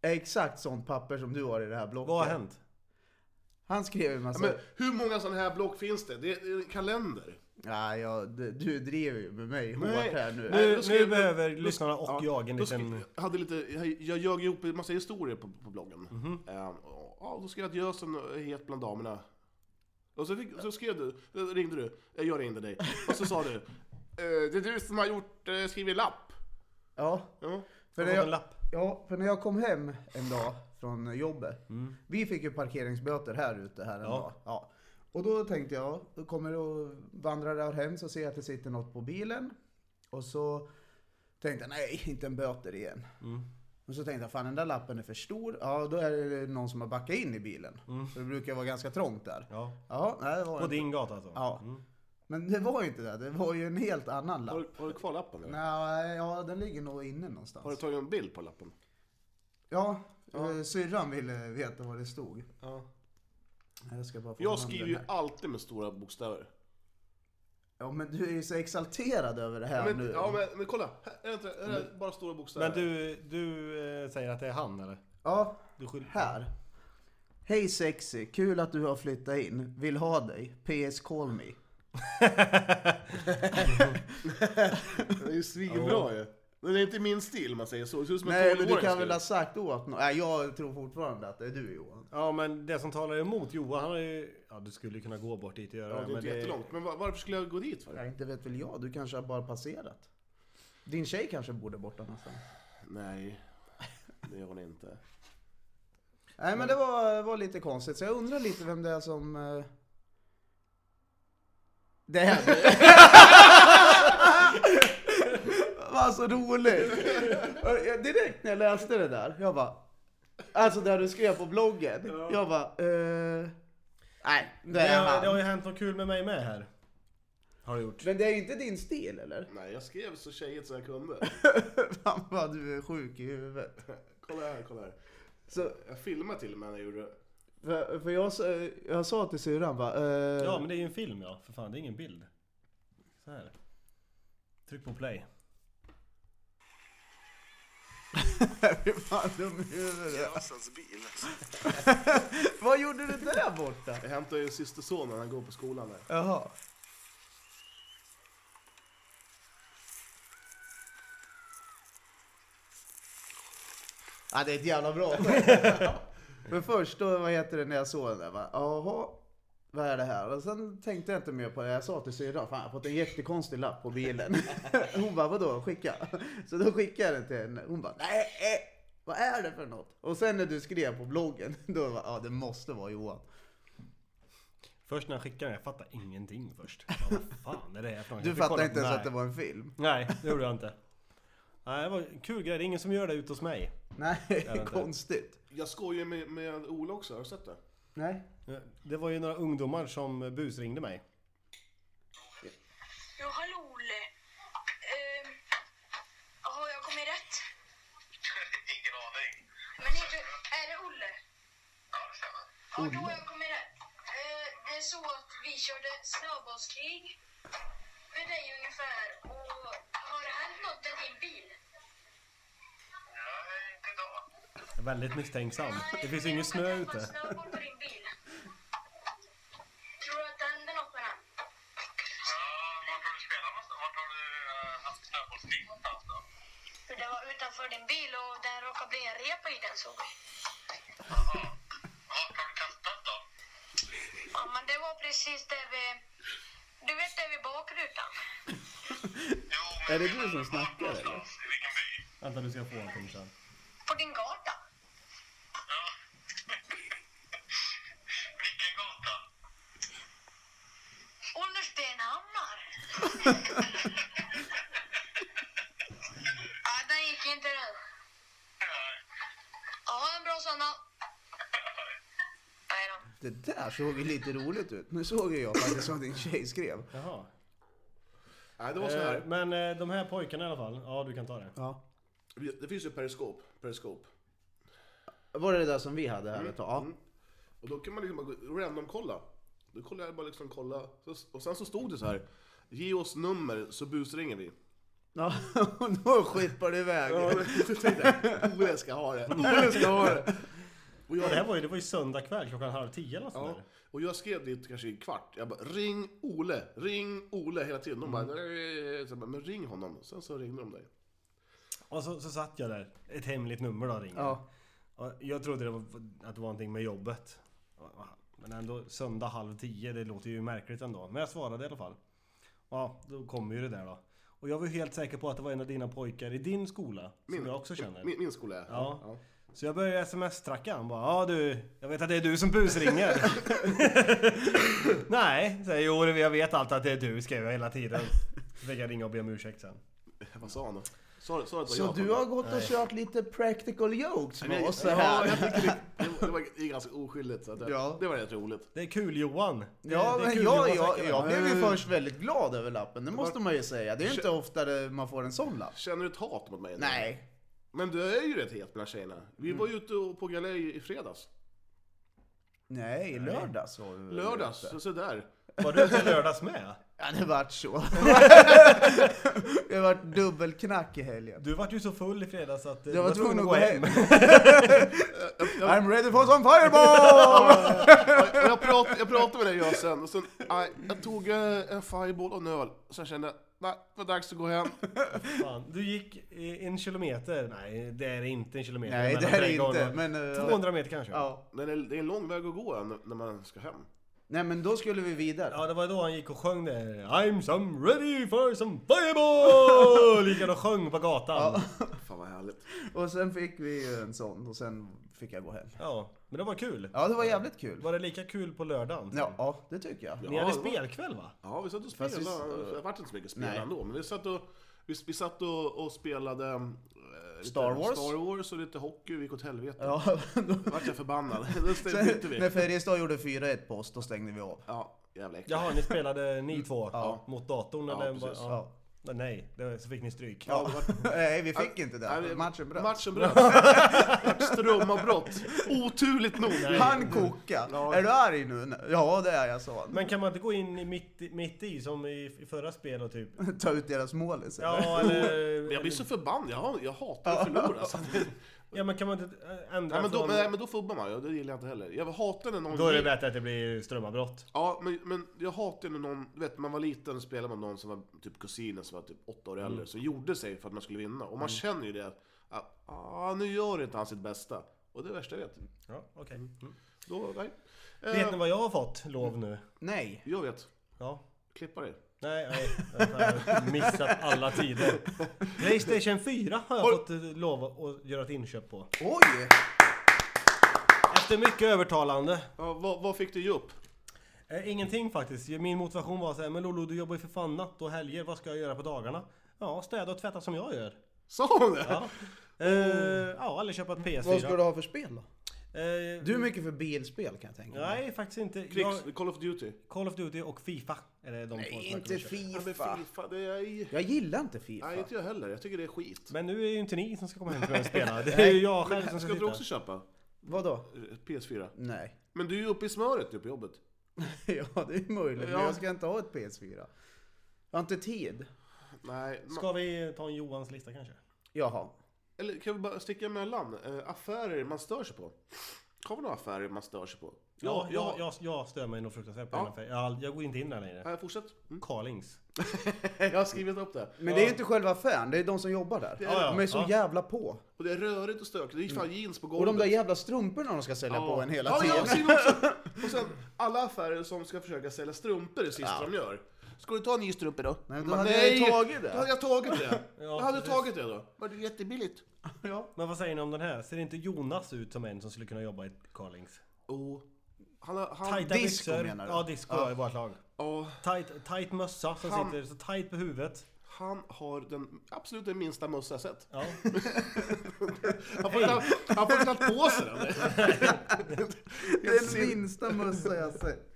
[SPEAKER 3] är exakt sånt papper som du har i det här blocket.
[SPEAKER 1] Vad har hänt?
[SPEAKER 3] Han skrev en
[SPEAKER 4] Ja,
[SPEAKER 3] massa...
[SPEAKER 4] men hur många sådana här block finns det? Det är, det är en kalender.
[SPEAKER 3] Nej, ja, d- du driver ju med mig hårt här nu.
[SPEAKER 4] Nej,
[SPEAKER 1] Nu,
[SPEAKER 4] då ska
[SPEAKER 1] nu
[SPEAKER 4] jag-
[SPEAKER 1] behöver
[SPEAKER 4] då-
[SPEAKER 1] lyssnarna och
[SPEAKER 4] ja,
[SPEAKER 1] jag en
[SPEAKER 4] då ska-
[SPEAKER 1] liten...
[SPEAKER 4] jag hade lite, jag- jag ljög ihop en massa historier på, på bloggen. Eh, och, ja, då skrev jag att Gösen är het bland damerna. Och så, fick, så skrev du, eh, ringde du, Eh, jag ringde dig. Och så sa du, eh, det är du som har gjort, eh, skrivit lapp.
[SPEAKER 3] Ja,
[SPEAKER 4] Ja.
[SPEAKER 3] för
[SPEAKER 1] Jag har
[SPEAKER 3] när
[SPEAKER 1] fått en
[SPEAKER 3] jag,
[SPEAKER 1] lapp.
[SPEAKER 3] ja, för när jag kom hem en dag från jobbet. Vi fick ju parkeringsböter här ute här en
[SPEAKER 1] Mm. Ja.
[SPEAKER 3] dag. Ja. Och då tänkte jag, då kommer och vandrar jag hem så ser jag att det sitter något på bilen. Och så tänkte jag, nej, inte en böter igen.
[SPEAKER 1] Mm.
[SPEAKER 3] Och så tänkte jag, fan den där lappen är för stor. Ja, då är det någon som har backat in i bilen. Så det brukar vara ganska trångt där.
[SPEAKER 1] Mm. Ja.
[SPEAKER 3] Ja, nej, det var
[SPEAKER 1] På
[SPEAKER 3] inte.
[SPEAKER 1] din gata alltså?
[SPEAKER 3] Ja. Men det var ju inte det, det var ju en helt annan lapp.
[SPEAKER 4] Mm. Har, du- har du kvar lappen? eller?
[SPEAKER 3] Nej, ja den ligger nog inne någonstans.
[SPEAKER 4] Har du tagit en bild på lappen?
[SPEAKER 3] Ja, eh, syrran ville veta vad det stod. Jag, ska bara få fram
[SPEAKER 4] Jag
[SPEAKER 3] den
[SPEAKER 4] skriver ju
[SPEAKER 3] här.
[SPEAKER 4] alltid med stora bokstäver.
[SPEAKER 3] Ja men du är ju så exalterad över det här
[SPEAKER 4] Ja, men,
[SPEAKER 3] nu.
[SPEAKER 4] ja, men, men kolla, här, är det inte, är det bara stora bokstäver?
[SPEAKER 1] Men du, du eh, säger att det är han eller?
[SPEAKER 3] Ja,
[SPEAKER 1] Du skyller...
[SPEAKER 3] här. Hej sexy, kul att du har flyttat in. Vill ha dig. PS call me.
[SPEAKER 4] Det är ju svinbra ju. Men det är inte min stil man säger så. Det ser ut som
[SPEAKER 3] Nej,
[SPEAKER 4] en
[SPEAKER 3] men du
[SPEAKER 4] tolvåring
[SPEAKER 3] kan väl
[SPEAKER 4] skulle-
[SPEAKER 3] ha sagt åt någon. Nej, jag tror fortfarande att det är du Johan.
[SPEAKER 1] Ja men det som talar emot Johan, han är ju... Ja du skulle ju kunna gå bort dit och göra
[SPEAKER 4] Ja, det är
[SPEAKER 1] men
[SPEAKER 4] inte jättelångt. Men va- varför skulle jag gå dit för?
[SPEAKER 3] Nej, inte vet väl jag. Du kanske har bara passerat. Din tjej kanske bor där borta någonstans.
[SPEAKER 4] Nej, det gör hon inte.
[SPEAKER 3] Nej, men det var, var lite konstigt. Så jag undrar lite vem det är som... eh, Det är du. Vad så roligt! Och jag- Direkt när jag läste det där, jag bara... Alltså där du skrev på bloggen. Jag bara... eh, nej, det
[SPEAKER 1] Det,
[SPEAKER 3] är
[SPEAKER 1] har, det har
[SPEAKER 3] han.
[SPEAKER 1] ju hänt något kul med mig med här. Har det gjort.
[SPEAKER 3] Men det är ju inte din stil eller?
[SPEAKER 4] Nej, jag skrev så tjejigt som jag kunde.
[SPEAKER 3] Fan vad du är sjuk i huvudet.
[SPEAKER 4] Kolla här, kolla här.
[SPEAKER 3] Så,
[SPEAKER 4] Jag filmade till och med när jag gjorde det.
[SPEAKER 3] för, för jag, sa- jag sa till syrran bara... eh,
[SPEAKER 1] Ja men det är ju en film ja, för fan det är ingen bild. Så här. Tryck på play.
[SPEAKER 3] Fy fan dum i huvudet. Vad gjorde du där borta?
[SPEAKER 4] Jag hämtade ju systersonen, han går på skolan där.
[SPEAKER 3] Jaha. Ja, det är ett jävla bra Men först då, vad heter det, när jag såg den där, va? jaha, vad är det här? Och sen tänkte jag inte mer på det. Jag sa till syrran, fan jag har fått en jättekonstig lapp på bilen. Hon bara, vadå, skicka? Så då skickade jag den till henne. Hon bara, nej, eh, vad är det för något? Och sen när du skrev på bloggen, då var ja det måste vara Johan.
[SPEAKER 1] Först när jag skickade den, jag fattade ingenting först. Jag bara, Vad fan är det här för något?
[SPEAKER 3] Du
[SPEAKER 1] Jag fick kolla
[SPEAKER 3] fattade
[SPEAKER 1] på-
[SPEAKER 3] inte ens
[SPEAKER 1] Nej.
[SPEAKER 3] att det var en film.
[SPEAKER 1] Nej, det gjorde jag inte. Nej, det var en kul grej. Det är ingen som gör det ute hos mig.
[SPEAKER 3] Nej,
[SPEAKER 1] inte.
[SPEAKER 3] konstigt.
[SPEAKER 4] Jag skojar med, med Ola också, har du sett det?
[SPEAKER 3] Nej.
[SPEAKER 1] Det var ju några ungdomar som busringde mig.
[SPEAKER 7] Jo, hallå Olle. Ehm, Har jag kommit rätt?
[SPEAKER 6] Ingen aning.
[SPEAKER 7] Men är det, är det Olle?
[SPEAKER 6] Ja, det stämmer.
[SPEAKER 7] Ja, då har jag kommit rätt. Eh, det är så att vi körde snöbollskrig med dig ungefär. Och har det hänt något med din bil?
[SPEAKER 6] Nej, inte idag.
[SPEAKER 1] Jag är väldigt misstänksam. Det finns ju
[SPEAKER 7] men
[SPEAKER 1] ingen
[SPEAKER 7] jag
[SPEAKER 1] snö
[SPEAKER 7] hoppas att det har
[SPEAKER 1] ute.
[SPEAKER 7] fått snöboll på din bil. Tror du att det händer något med den?
[SPEAKER 6] Ja, vart har du spelat någonstans? Vart har du eh, haft snöbollskrig någonstans då?
[SPEAKER 7] För det var utanför din bil och det råkade bli en repa i den såg vi.
[SPEAKER 6] Vart har du kastat då?
[SPEAKER 7] Ja, men det var precis där vi... Du vet där vid bakrutan?
[SPEAKER 6] Jo, men
[SPEAKER 3] Är det du som snackar eller?
[SPEAKER 6] i vilken by?
[SPEAKER 1] Vänta, du ska få en kompis sen.
[SPEAKER 7] På din gata?
[SPEAKER 6] Ja. vilken gata?
[SPEAKER 7] Ollerstenhammar? ja, den gick inte den. Ja, ha en bra söndag. Nej då.
[SPEAKER 3] Det där såg ju lite roligt ut. Nu såg ju jag faktiskt vad din tjej skrev.
[SPEAKER 1] Jaha.
[SPEAKER 4] Nej, det var så
[SPEAKER 1] Eh,
[SPEAKER 4] här.
[SPEAKER 1] men eh, de här pojkarna i alla fall. Ja, du kan ta det.
[SPEAKER 3] Ja.
[SPEAKER 4] Det finns ju periskop. periskop.
[SPEAKER 3] Var det det där som vi hade här ett tag? Ja.
[SPEAKER 4] Och då kan man liksom bara gå- random-kolla. Då kollade jag bara liksom kolla. Så- Och sen så stod det så här. Ge oss nummer så busringer vi.
[SPEAKER 3] ja. Och då skippar du iväg.
[SPEAKER 4] Ja, men då tänkte jag, "Ola, jag ska ha det. Ola, jag ska ha det. Och
[SPEAKER 1] Ja, det här
[SPEAKER 4] jag,
[SPEAKER 1] var ju, det var ju söndag kväll klockan halv tio eller nåt sånt
[SPEAKER 4] ja,
[SPEAKER 1] där.
[SPEAKER 4] och jag skrev dit kanske i kvart. Jag bara ring Ole, ring Ole hela tiden. De bara, "Eh." så jag bara men ring honom. Sen så ringde de dig.
[SPEAKER 1] Och så, så satt jag där. Ett hemligt nummer då ringer.
[SPEAKER 3] Ja.
[SPEAKER 1] Och jag trodde det var, att det var någonting med jobbet. Men ändå söndag halv tio, det låter ju märkligt ändå. Men jag svarade i alla fall. Ja, då kommer ju det där då. Och jag var ju helt säker på att det var en av dina pojkar i din skola. Som jag också känner.
[SPEAKER 4] Min, min skola är.
[SPEAKER 1] Ja. Så jag började sms-tracka han bara Ja du, jag vet att det är du som busringer. Nej, säger jag. Jo, jag vet alltid att det är du, skrev jag hela tiden. Så fick jag ringa och be om ursäkt sen.
[SPEAKER 4] Vad sa han då? Sa sa det att det var
[SPEAKER 3] Så
[SPEAKER 4] jag?
[SPEAKER 3] du har gått och kört lite practical jokes med oss så
[SPEAKER 4] Ja, jag
[SPEAKER 3] här?
[SPEAKER 4] tyckte det, det var- det var det är ganska oskyldigt. Så att det,
[SPEAKER 3] Ja.
[SPEAKER 4] det var rätt roligt.
[SPEAKER 1] Det är kul Johan. Det,
[SPEAKER 3] Ja,
[SPEAKER 1] det är
[SPEAKER 3] men
[SPEAKER 1] kul
[SPEAKER 3] jag,
[SPEAKER 1] Johan
[SPEAKER 3] jag,
[SPEAKER 1] snackar.
[SPEAKER 3] jag blev ju först väldigt glad över lappen, det måste man ju säga. Det är ju inte oftare man får en sån lapp.
[SPEAKER 4] Känner du ett hat mot mig? nu?
[SPEAKER 3] Nej.
[SPEAKER 4] Men du är ju rätt het bland tjejerna. Vi var ju ute och på galej i fredags.
[SPEAKER 3] Nej, i lördags var vi väl
[SPEAKER 4] Lördags,
[SPEAKER 3] ute.
[SPEAKER 4] så, så där.
[SPEAKER 1] Var du ute i lördags med?
[SPEAKER 3] Ja, det vart så. det vart dubbelknack i helgen.
[SPEAKER 1] Du vart ju så full i fredags att eh,
[SPEAKER 3] Jag var
[SPEAKER 1] du
[SPEAKER 3] tvungen att gå hem.
[SPEAKER 4] jag-
[SPEAKER 3] I'm ready for some fireball!
[SPEAKER 4] Och Jag, prat, jag pratade med dig jag sen och sen, aj, jag tog eh, en fireball och en öl. Sen kände jag, nej, det var dags att gå hem.
[SPEAKER 1] Fan. Du gick eh, en kilometer. Nej, det är inte en kilometer.
[SPEAKER 3] Nej,
[SPEAKER 1] mellan
[SPEAKER 3] det är det
[SPEAKER 1] trädgården
[SPEAKER 3] inte,
[SPEAKER 1] och-
[SPEAKER 3] men... eh,
[SPEAKER 1] 200 meter kanske?
[SPEAKER 3] Ja.
[SPEAKER 4] Men det är- det är en lång väg att gå än när man ska hem.
[SPEAKER 3] Nej, men då skulle vi vidare.
[SPEAKER 1] Ja, det var då han gick och sjöng det. I'm some ready for some fireball! Gick han och sjöng på gatan. Ja.
[SPEAKER 4] Fan vad härligt.
[SPEAKER 3] Och sen fick vi ju en sån och sen fick jag gå hem.
[SPEAKER 1] men det var kul.
[SPEAKER 3] Ja, det var jävligt kul.
[SPEAKER 1] Var det lika kul på lördagen?
[SPEAKER 3] Ja, ja det tycker jag.
[SPEAKER 1] Ni
[SPEAKER 4] Ja,
[SPEAKER 1] hade
[SPEAKER 4] det var-
[SPEAKER 1] spelkväll va?
[SPEAKER 4] Ja, vi satt och
[SPEAKER 3] Fast
[SPEAKER 4] spelade.
[SPEAKER 3] vi-
[SPEAKER 4] Det vart inte så mycket spel
[SPEAKER 3] Nej.
[SPEAKER 4] ändå, men vi satt och, vi, vi satt och, och spelade eh, lite
[SPEAKER 3] Star Wars.
[SPEAKER 4] Star Wars och lite hockey, vi gick åt helvete.
[SPEAKER 3] Ja, då...
[SPEAKER 4] Vart jag förbannad. Då
[SPEAKER 3] Sen,
[SPEAKER 4] bytte
[SPEAKER 3] när
[SPEAKER 4] vi.
[SPEAKER 3] Färjestad gjorde 4-1 på oss, då stängde vi av.
[SPEAKER 4] Ja, jävla äckligt.
[SPEAKER 1] Jaha, ni spelade ni två
[SPEAKER 3] Ja.
[SPEAKER 1] mot datorn
[SPEAKER 4] Ja,
[SPEAKER 1] eller?
[SPEAKER 4] precis.
[SPEAKER 1] ja. Men Nej, det, var- så fick ni stryk.
[SPEAKER 4] Ja, det vart-
[SPEAKER 3] Nej, vi fick inte det.
[SPEAKER 4] Nej, det-
[SPEAKER 3] Matchen bröts.
[SPEAKER 4] Matchen bröts. Det vart strömavbrott. Oturligt nog.
[SPEAKER 3] Han koka. Är du arg nu? Ja, det är jag, sa han.
[SPEAKER 1] Men kan man inte gå in i mitt, i- mitt i som i, i förra spelet typ?
[SPEAKER 3] Ta ut deras målis. eller?
[SPEAKER 1] Ja, eller...
[SPEAKER 4] Men jag blir så förbannad. Jag, jag hatar att förlora. Så.
[SPEAKER 1] Ja, men kan man inte ändra
[SPEAKER 4] Nej, men då,
[SPEAKER 1] från...
[SPEAKER 4] men, nej, men då fubbar man ju. Det gillar jag inte heller. Jag hatar när någon...
[SPEAKER 1] Då är det bättre att det blir strömavbrott.
[SPEAKER 4] Ja, men, men jag hatar när någon... Du vet, när man var liten och spelade man med någon som var typ kusinen som var typ åtta år äldre. Som gjorde sig för att man skulle vinna. Och man känner ju det att... att ah, nu gör inte han sitt bästa. Och det är det värsta jag vet.
[SPEAKER 1] Ja, okej. Mm.
[SPEAKER 4] Då, nej.
[SPEAKER 1] Vet
[SPEAKER 4] Eh,
[SPEAKER 1] ni vad jag har fått lov nu?
[SPEAKER 3] Nej.
[SPEAKER 4] Jag vet.
[SPEAKER 1] Ja.
[SPEAKER 4] Klippa dig.
[SPEAKER 1] Nej, nej. Jag har missat alla tider. Playstation 4 har jag
[SPEAKER 4] Har-
[SPEAKER 1] fått eh, lov att göra ett inköp på.
[SPEAKER 3] Oj!
[SPEAKER 1] Efter mycket övertalande.
[SPEAKER 4] Ja, vad, vad fick du ge upp?
[SPEAKER 1] Eh, ingenting faktiskt. Min motivation var så här, men Lollo du jobbar ju för fan natt och helger, vad ska jag göra på dagarna? Ja, städa och tvätta som jag gör.
[SPEAKER 4] Sa hon det?
[SPEAKER 1] Ja, eh, ja eller köpa ett PS4.
[SPEAKER 3] Vad ska du ha för spel då?
[SPEAKER 1] Eh,
[SPEAKER 3] Du är mycket för bilspel kan jag tänka mig.
[SPEAKER 1] Nej, faktiskt inte.
[SPEAKER 4] Krigs,
[SPEAKER 1] Jag,
[SPEAKER 4] Call of Duty?
[SPEAKER 1] Call of Duty och Fifa är det de två som
[SPEAKER 3] Nej,
[SPEAKER 1] jag
[SPEAKER 3] inte
[SPEAKER 1] kommer köpa.
[SPEAKER 4] Ja, men
[SPEAKER 3] Fifa.
[SPEAKER 4] FIFA, det är...
[SPEAKER 3] Jag gillar inte Fifa.
[SPEAKER 4] Nej, inte jag heller. Jag tycker det är skit.
[SPEAKER 1] Men nu är ju inte ni som ska komma hem och spela. Det är ju jag själv som ska,
[SPEAKER 4] Men, ska du
[SPEAKER 1] sitta.
[SPEAKER 4] också köpa
[SPEAKER 3] Vadå?
[SPEAKER 4] eh, PS4?
[SPEAKER 3] Nej.
[SPEAKER 4] Men du är ju uppe i smöret nu på jobbet.
[SPEAKER 3] ja, det är möjligt. Men
[SPEAKER 4] Ja.
[SPEAKER 3] jag ska inte ha ett PS4. Jag har inte tid.
[SPEAKER 4] Nej, ma-
[SPEAKER 1] Ska vi ta en Johans lista kanske?
[SPEAKER 3] Jaha.
[SPEAKER 4] eller kan vi bara sticka emellan? Eh, affärer man stör sig på. Har vi några affärer man stör sig på?
[SPEAKER 1] Ja,
[SPEAKER 4] Ja,
[SPEAKER 1] jag,
[SPEAKER 4] ja.
[SPEAKER 1] jag, jag stör mig nog fruktansvärt på
[SPEAKER 4] Ja.
[SPEAKER 1] den affären. Jag, jag går inte in där längre.
[SPEAKER 4] Nej, fortsätt. Mm.
[SPEAKER 1] Carlings.
[SPEAKER 4] Jag har skrivit upp det.
[SPEAKER 3] Men det är ju inte själva affären, det är de som jobbar där.
[SPEAKER 1] Ja, ja,
[SPEAKER 3] De är så
[SPEAKER 1] ja.
[SPEAKER 3] jävla på.
[SPEAKER 4] Och det är rörigt och stökigt. Det är ju fan jeans på
[SPEAKER 3] Mm. Och
[SPEAKER 4] golvet.
[SPEAKER 3] de där jävla strumporna de ska sälja på en hela
[SPEAKER 4] ja,
[SPEAKER 3] tiden.
[SPEAKER 4] Ja, jag ser också. Och sen alla affärer som ska försöka sälja strumpor det sista de gör. Ska du ta en ny strumpa då?
[SPEAKER 3] Nej, då
[SPEAKER 4] Men
[SPEAKER 3] hade jag ju tagit det.
[SPEAKER 4] Då hade jag tagit det.
[SPEAKER 1] Ja,
[SPEAKER 4] då hade du
[SPEAKER 1] precis.
[SPEAKER 4] tagit det då. Men det är jättebilligt.
[SPEAKER 3] Ja.
[SPEAKER 1] Men vad säger ni om den här? Ser inte Jonas ut som en som skulle kunna jobba i Carlings?
[SPEAKER 4] Oh. Han, har- han,
[SPEAKER 1] Tajta
[SPEAKER 3] disco
[SPEAKER 1] byxor.
[SPEAKER 3] menar du?
[SPEAKER 1] Ja, disco i vårt lag.
[SPEAKER 4] ja,
[SPEAKER 1] Tight, tight mössa som
[SPEAKER 4] Han-
[SPEAKER 1] sitter så tight på huvudet.
[SPEAKER 4] han har den absolut den minsta mössa jag sett.
[SPEAKER 1] Ja.
[SPEAKER 4] Han får knappt- han får knappt på sig den.
[SPEAKER 3] Den minsta mössa jag sett.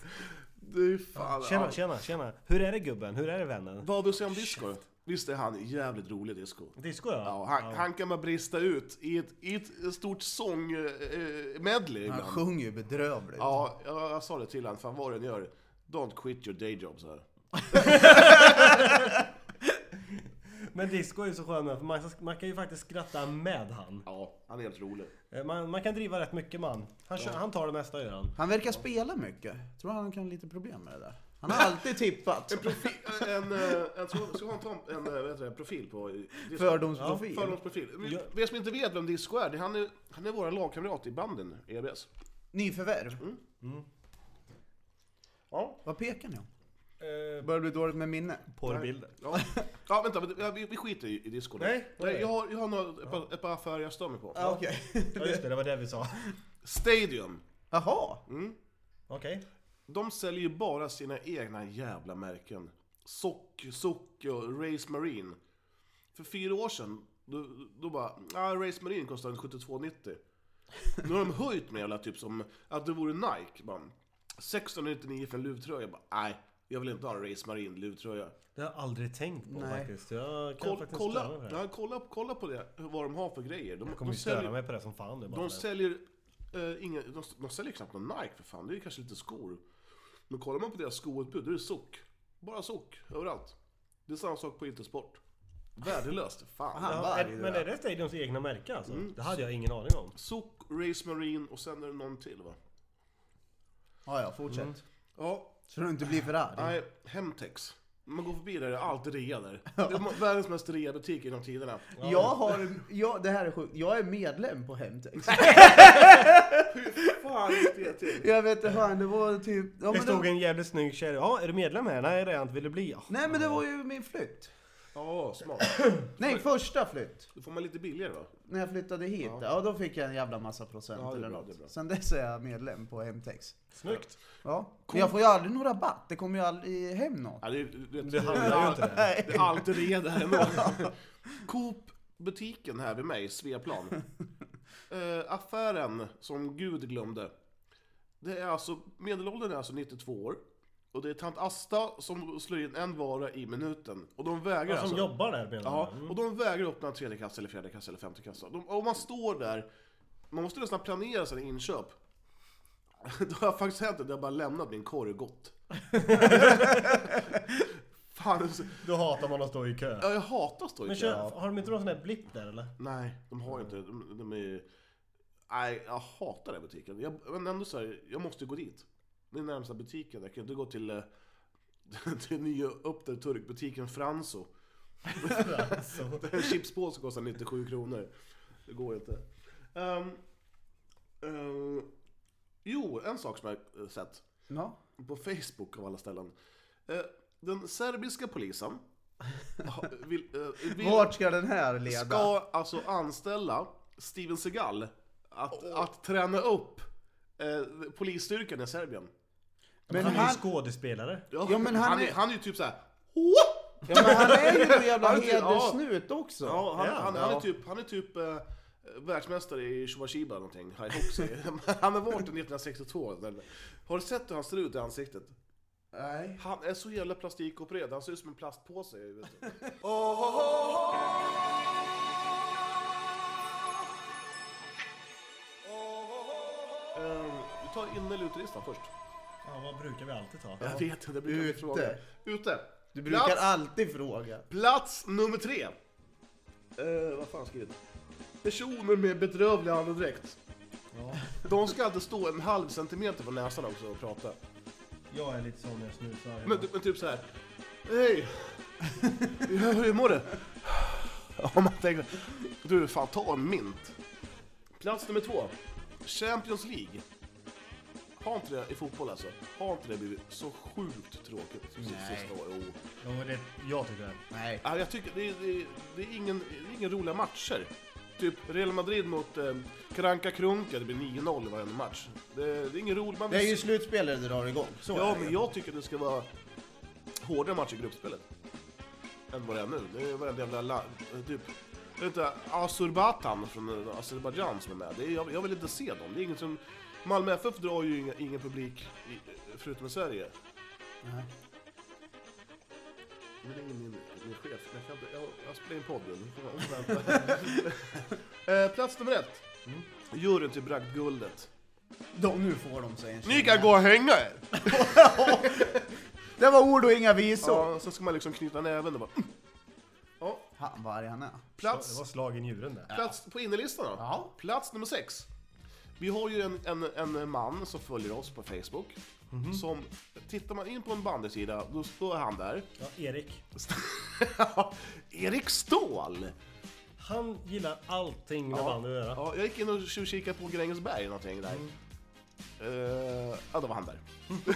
[SPEAKER 4] Du fan.
[SPEAKER 1] Tjena,
[SPEAKER 4] ja.
[SPEAKER 1] tjena, tjena. Hur är det gubben? Hur är det vännen?
[SPEAKER 4] Vad har du att säga om disco? Visst är han jävligt rolig disco?
[SPEAKER 1] Disco ja.
[SPEAKER 4] Ja, han, han kan bara brista ut i ett, i ett stort sång-medley
[SPEAKER 3] Han
[SPEAKER 4] ibland.
[SPEAKER 3] sjunger ju bedrövligt.
[SPEAKER 4] Ja, jag, jag sa det till honom, fan vad den gör. Don't quit your day job så här.
[SPEAKER 1] Men disco är ju så skön för man, man kan ju faktiskt skratta med han.
[SPEAKER 4] Ja, han är helt rolig.
[SPEAKER 1] Eh, Man, man kan driva rätt mycket man. Han, kör, han tar det mesta gör han.
[SPEAKER 3] Han verkar spela mycket. Jag tror han kan ha lite problem med det där. Han har alltid tippat.
[SPEAKER 4] Profi- en, eh, en, ska, ska han ta en, en eh, vad heter det, profil på disco?
[SPEAKER 3] Fördomsprofil.
[SPEAKER 4] Fördomsprofil.
[SPEAKER 1] Ja.
[SPEAKER 4] Vi som inte vet vem Disco är, det är han är, han är vår lagkamrat i banden, E EBS.
[SPEAKER 3] Nyförvärv.
[SPEAKER 4] Ja.
[SPEAKER 3] Vad pekar ni om?
[SPEAKER 1] Eh,
[SPEAKER 3] Börjar bli dåligt med minne.
[SPEAKER 1] Porrbilder.
[SPEAKER 4] Ja, ja vänta, vänta, vi, vi skiter i, i Disco nu.
[SPEAKER 1] Nej,
[SPEAKER 4] Nej jag har, jag har några, ett, par, ett par affärer jag stör mig på.
[SPEAKER 3] Ja, Okej.
[SPEAKER 1] Ja just det, det var det vi sa.
[SPEAKER 4] Stadium.
[SPEAKER 3] Jaha.
[SPEAKER 1] Okej.
[SPEAKER 4] De säljer ju bara sina egna jävla märken. Sock, Sock och Race Marine. För fyra år sedan, då, då bara, ah, Race Marine kostar 72,90. Nu har de höjt med jävla typ som att det vore Nike. Bara, 1699 för en luvtröja. Bara, nej, jag vill inte ha en Race Marine luvtröja.
[SPEAKER 1] Det har jag aldrig tänkt på
[SPEAKER 3] Nej.
[SPEAKER 1] faktiskt. Jag kan
[SPEAKER 4] Koll,
[SPEAKER 1] faktiskt
[SPEAKER 4] kolla,
[SPEAKER 1] störa mig på det.
[SPEAKER 4] ja, kolla, kolla på det, vad de har för grejer. De,
[SPEAKER 1] Jag kommer
[SPEAKER 4] de
[SPEAKER 1] ju störa
[SPEAKER 4] säljer,
[SPEAKER 1] mig på det som fan nu bara.
[SPEAKER 4] de säljer, eh, inga, de, de säljer knappt någon Nike för fan, det är kanske lite skor. Men kollar man på deras skoutbud, då är det sock. Bara sock, överallt. Det är samma sak på Intersport. Värdelöst, fan.
[SPEAKER 3] Aha.
[SPEAKER 1] ja, är,
[SPEAKER 3] Varg, det
[SPEAKER 1] men
[SPEAKER 3] där.
[SPEAKER 1] är det Stadiums egna märke alltså?
[SPEAKER 4] Mm.
[SPEAKER 1] Det hade jag ingen aning om.
[SPEAKER 4] Sock, Race Marine och sen är det någon till va?
[SPEAKER 3] Ja, ja, fortsätt.
[SPEAKER 4] Ja,
[SPEAKER 3] Så du inte blir för arg.
[SPEAKER 4] nej, Hemtex. Man går förbi där, det är alltid rea där. Det är världens mest rea-butik genom tiderna.
[SPEAKER 3] Jag har, jag, det här är sjukt, jag är medlem på Hemtex.
[SPEAKER 4] Fan, just det till.
[SPEAKER 3] Jag vet inte fan, det var typ... Ja,
[SPEAKER 1] Det
[SPEAKER 3] men
[SPEAKER 1] stod
[SPEAKER 3] det,
[SPEAKER 1] en jävligt snygg tjej. Ja, är du medlem här? Nej, det är jag inte. Vill du bli? Ja.
[SPEAKER 3] nej men det var ju min flytt.
[SPEAKER 4] Ja, smart.
[SPEAKER 3] Nej, första flytt.
[SPEAKER 4] Då får man lite billigare va?
[SPEAKER 3] När jag flyttade hit, ja. då fick jag en jävla massa procent
[SPEAKER 4] Ja, det är
[SPEAKER 3] eller
[SPEAKER 4] bra,
[SPEAKER 3] något.
[SPEAKER 4] det är bra.
[SPEAKER 3] Sen dess är jag medlem på Hemtex.
[SPEAKER 1] Snyggt.
[SPEAKER 3] Ja. Men jag får ju aldrig någon rabatt, det kommer ju aldrig hem någon.
[SPEAKER 4] Ja, det, är- det,
[SPEAKER 1] Det handlar ju inte det.
[SPEAKER 4] Det är alltid rea där ändå. Coop-butiken här vid mig, Sveaplan. Eh, affären som Gud glömde. Det är alltså, medelåldern är alltså 92 år. Och det är tant Asta som slår in en vara i minuten. Och de vägrar
[SPEAKER 1] Ja,
[SPEAKER 4] alltså.
[SPEAKER 1] som jobbar där menar
[SPEAKER 4] Ja,
[SPEAKER 1] du? Mm.
[SPEAKER 4] och de vägrar öppna en tredje kassa eller fjärde kassa eller femte kassa. De, och man står där, man måste nästan planera sina inköp. Då har jag faktiskt hänt att jag bara lämnat min korv gott. Fan, det är så-
[SPEAKER 1] Då hatar man att stå i kö.
[SPEAKER 4] ja, jag hatar att stå i
[SPEAKER 1] Men
[SPEAKER 4] kö.
[SPEAKER 1] kör, har de inte någon sån där blipp där eller?
[SPEAKER 4] Nej, de har ju inte, de, de är ju- Nej, jag hatar den här butiken. Jag, men ändå så här, jag måste gå dit. Det är närmsta butiken, jag kan inte gå till, eh, till nya upp där turkbutiken Franso.
[SPEAKER 1] Alltså.
[SPEAKER 4] En chipspåse kostar 97 kronor. Det går inte. Ehm, ehm, jo, en sak som jag eh, sett
[SPEAKER 3] Ja.
[SPEAKER 4] på Facebook av alla ställen. Eh, den serbiska polisen ha- vill, eh, vill,
[SPEAKER 3] Vart ska den här leda?
[SPEAKER 4] ska alltså anställa Steven Seagal att, att träna upp eh, polisstyrkan i Serbien.
[SPEAKER 3] Men
[SPEAKER 1] han är ju
[SPEAKER 3] han,
[SPEAKER 1] skådespelare.
[SPEAKER 4] Ja,
[SPEAKER 3] Ja, men han
[SPEAKER 4] han, är,
[SPEAKER 3] är-
[SPEAKER 4] han är ju typ såhär
[SPEAKER 3] ja, men han är ju en jävla
[SPEAKER 4] Han är typ- ja.
[SPEAKER 3] hedersnut också.
[SPEAKER 4] Ja, han,
[SPEAKER 1] Ja,
[SPEAKER 4] han, han är
[SPEAKER 1] ja.
[SPEAKER 4] typ, han är typ eh, världsmästare i Shubashiba eller någonting. har jag också. han har varit det 1962. Men Har du sett hur han ser ut i ansiktet?
[SPEAKER 3] Nej.
[SPEAKER 4] Han är så jävla plastikopererad, han ser ut som en plastpåse. Ehm, Vet du. Eh, Vi tar in eller utelistan först.
[SPEAKER 1] Ja, vad brukar vi alltid ta?
[SPEAKER 4] Jag vet inte, det brukar vi
[SPEAKER 3] Ute.
[SPEAKER 4] fråga. Ute.
[SPEAKER 3] Du brukar
[SPEAKER 4] Plats-
[SPEAKER 3] alltid fråga.
[SPEAKER 4] Plats nummer tre. Eh, vad fan har jag skrivit? Personer med bedrövlig andedräkt. De ska alltid stå en halv centimeter från näsan också och prata.
[SPEAKER 1] Jag är lite sån när jag snusar.
[SPEAKER 4] Men, men typ så här. Hej! Hur hur mår du? Om man tänker, du fan ta en mint. Plats nummer två. Champions League. Har inte det i fotboll alltså, har inte det blivit så sjukt tråkigt? Nej. Sista år? Jo.
[SPEAKER 1] Jo, det, jag tycker det.
[SPEAKER 3] Nej.
[SPEAKER 4] Ja, jag tycker det, är- det, är- det, är ingen, det är inga roliga matcher. Typ Real Madrid mot eh, Karanka Krunka, det blir 9-0 i varenda match. Det, det är ingen rolig... Man
[SPEAKER 3] Det är
[SPEAKER 4] vill-
[SPEAKER 3] ju slutspel där det drar igång. Så
[SPEAKER 4] ja,
[SPEAKER 3] är det.
[SPEAKER 4] men jag tycker det ska vara hårdare match i gruppspelet. Än vad det är nu. Det är varenda jävla la- eh, typ... Jag vet inte, Azerbajdzjan från eh, Azerbajdzjan som är med. Det är, jag, jag vill inte se dem. Det är inget som... Malmö FF drar ju inga, ingen publik i, förutom i Sverige.
[SPEAKER 3] Nej.
[SPEAKER 4] Nu ringer min, min chef. men Jag, kan inte, jag, jag spelar in podden. Nu får jag vänta. eh, plats nummer ett.
[SPEAKER 1] Mm.
[SPEAKER 4] Juryn till Bragdguldet.
[SPEAKER 3] De, nu får de sig en
[SPEAKER 4] Ni kan gå och hänga er!
[SPEAKER 3] Det var ord och inga visor.
[SPEAKER 4] Ja, sen ska man liksom knyta näven och bara... Ja,
[SPEAKER 3] Han vad arg han är.
[SPEAKER 1] Det
[SPEAKER 4] plats,
[SPEAKER 1] var slag i njuren där.
[SPEAKER 4] plats på innerlistan då.
[SPEAKER 3] Ja.
[SPEAKER 4] Plats nummer sex. Vi har ju en, en, en man som följer oss på Facebook. Som, tittar man in på en bandysida, då står han där.
[SPEAKER 1] Ja, Erik.
[SPEAKER 4] Erik Ståhl!
[SPEAKER 1] Han gillar allting med bandy att göra.
[SPEAKER 4] Ja, jag gick in och tjuvkikade på Grängesberg någonting där. Mm. ja, då var han där.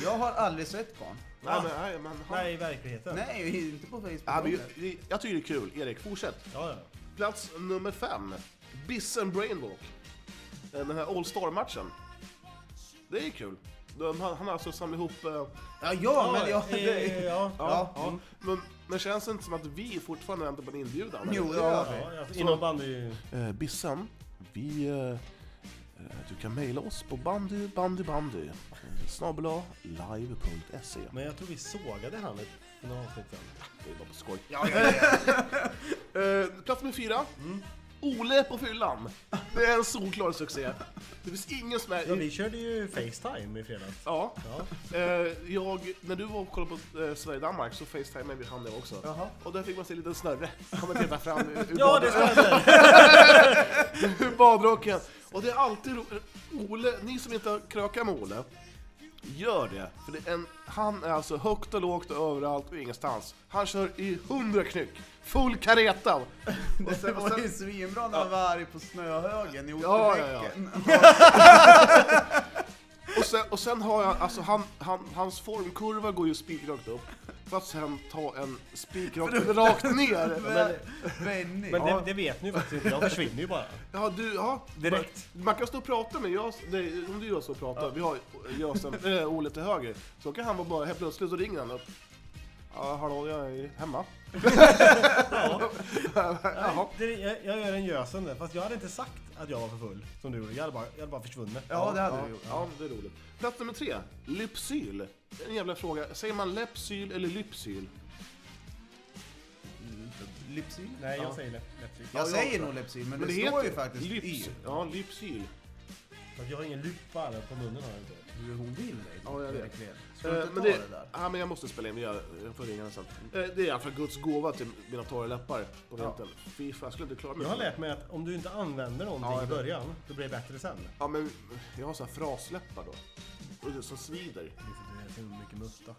[SPEAKER 3] Jag har aldrig sett karln.
[SPEAKER 4] Nej, men, nej, men han...
[SPEAKER 1] Nej, i verkligheten.
[SPEAKER 3] Nej, inte på Facebook.
[SPEAKER 4] Ja, men,
[SPEAKER 3] heller.
[SPEAKER 4] ju- jag tycker det är kul. Erik, fortsätt.
[SPEAKER 1] Ja, ja.
[SPEAKER 4] Plats nummer fem. Bissen Brainwalk. Eh, Den här All Star-matchen. Det är kul. De, han, han har alltså samlat ihop... eh,
[SPEAKER 3] ja, ja, men jag...
[SPEAKER 1] eh,
[SPEAKER 3] Det,
[SPEAKER 1] ja.
[SPEAKER 3] ja.
[SPEAKER 4] ja, men, men känns det inte som att vi fortfarande väntar på en inbjudan?
[SPEAKER 3] Jo, det har vi.
[SPEAKER 1] Ja, ja, inom bandy...
[SPEAKER 4] Eh, Bissan, vi... Eh, eh, du kan mejla oss på bandy, bandy, bandy. Eh, snabel-a live.se.
[SPEAKER 1] Men jag tror vi sågade han ett- i några avsnitt sen.
[SPEAKER 4] Det är bara på skoj. Eh, plats nummer fyra. Ole på fyllan. Det är en solklar succé. Det finns ingen som
[SPEAKER 1] Ja,
[SPEAKER 4] är...
[SPEAKER 1] vi körde ju Facetime i fredags.
[SPEAKER 4] Ja.
[SPEAKER 1] Ja.
[SPEAKER 4] Eh, jag, när du var och kollade på eh, Sverige-Danmark så facetimade vi han jag också.
[SPEAKER 3] Jaha.
[SPEAKER 4] Och där fick man se en liten snörre komma och titta fram ur, ur,
[SPEAKER 1] Ja,
[SPEAKER 4] bad,
[SPEAKER 1] det ska jag säga.
[SPEAKER 4] eh, ur badrocken. Och det är alltid ro- Ole, ni som inte har krökat med Ole, Gör det! För det är en, han är alltså högt och lågt och överallt och ingenstans. Han kör i 100 knyck, full kareta!
[SPEAKER 3] Och sen, och sen, var ju svinbra när han var arg på snöhögen i
[SPEAKER 4] Ja, ja, ja.
[SPEAKER 3] Otterbäcken.
[SPEAKER 4] Och sen, och sen har jag, alltså han, han, hans formkurva går ju spikrakt upp, för att sen ta en spikrakt rakt ner. Men,
[SPEAKER 3] Benny.
[SPEAKER 1] Men det, det vet ni ju faktiskt inte, de försvinner ju bara.
[SPEAKER 4] ja, du, ja.
[SPEAKER 1] Direkt.
[SPEAKER 4] Man, man kan stå och prata med Jös, nej, om du gör så och pratar, vi har Jösen, äh, Ole till höger, så kan han vara bara, helt plötsligt så ringer han upp. Ja, hallå, jag är hemma. Jaha.
[SPEAKER 1] Det, jag, jag gör en gösen där, fast jag hade inte sagt att jag var för full som du gjorde. Jag hade bara, jag hade bara försvunnit.
[SPEAKER 3] Ja, det hade
[SPEAKER 4] ja,
[SPEAKER 3] du gjort.
[SPEAKER 4] Ja, det är roligt. Plats nummer tre, Lypsyl. En jävla fråga. Säger man Lepsyl eller Lypsyl?
[SPEAKER 3] Lipsyl?
[SPEAKER 1] Nej, jag
[SPEAKER 4] Ja.
[SPEAKER 1] säger typ. läppsyl.
[SPEAKER 3] Jag
[SPEAKER 4] Ja,
[SPEAKER 3] säger
[SPEAKER 4] jag-
[SPEAKER 3] nog Lipsyl, men, det, står ju faktiskt
[SPEAKER 4] Lyps,
[SPEAKER 3] Y.
[SPEAKER 4] Ja, Lypsyl.
[SPEAKER 1] Fast jag har ingen lupa på munnen har jag inte.
[SPEAKER 3] Du, hon vill dig.
[SPEAKER 4] Ja, jag vet.
[SPEAKER 3] verkligen. Ska du
[SPEAKER 4] Eh,
[SPEAKER 3] inte ta
[SPEAKER 4] men
[SPEAKER 3] det,
[SPEAKER 4] det,
[SPEAKER 3] där?
[SPEAKER 4] ja, men jag måste spela in, vi gör- jag får ringa den sen. Eh, Det är i alla fall Guds gåva till mina torra läppar på vintern. Fy fan, jag skulle inte klara mig.
[SPEAKER 1] Jag har lärt mig att om du inte använder någonting
[SPEAKER 4] Ja, jag
[SPEAKER 1] i
[SPEAKER 4] vet.
[SPEAKER 1] början, då blir det bättre sen.
[SPEAKER 4] Ja, men jag har så här frasläppar då. Och det som
[SPEAKER 1] Det
[SPEAKER 4] svider.
[SPEAKER 1] är för att du äter mycket mutta.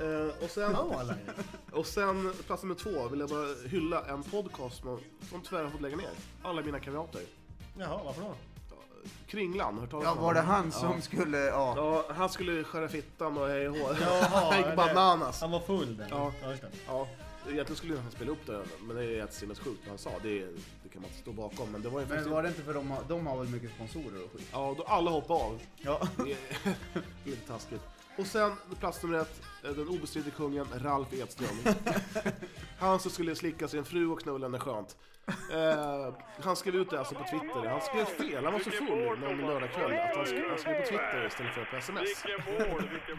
[SPEAKER 4] Eh, och sen...
[SPEAKER 1] Ja, Laila.
[SPEAKER 4] Och sen plats nummer två vill jag bara hylla en podcast som, som tyvärr har fått lägga ner. Alla mina kamrater.
[SPEAKER 1] Jaha, varför då?
[SPEAKER 4] Kringlan, hört talas
[SPEAKER 3] Ja,
[SPEAKER 4] om
[SPEAKER 3] var det
[SPEAKER 4] honom?
[SPEAKER 3] han som skulle... Ja.
[SPEAKER 4] Ja, han skulle skära fittan och hej och hå.
[SPEAKER 1] Jaha,
[SPEAKER 4] Han gick
[SPEAKER 1] eller-
[SPEAKER 4] bananas.
[SPEAKER 1] Han var full där.
[SPEAKER 4] Ja.
[SPEAKER 1] ja just det.
[SPEAKER 4] Ja, egentligen skulle han spela upp det, men det är helt sinnessjukt vad han sa. Det, är- det kan man inte stå bakom, men det var ju
[SPEAKER 3] Men
[SPEAKER 4] faktiskt...
[SPEAKER 3] var det inte för de har, de har väl mycket sponsorer och skit?
[SPEAKER 4] Ja, då alla hoppade av.
[SPEAKER 3] Ja.
[SPEAKER 4] Det är lite taskigt. Och sen plats nummer ett, eh, den obestridde kungen Ralf Edström. Han som skulle slicka sin fru och knulla henne skönt. Eh, han skrev ut det alltså på Twitter. Han skrev fel, han var så full någon lördagkväll att han skrev, han skrev på Twitter istället för på sms.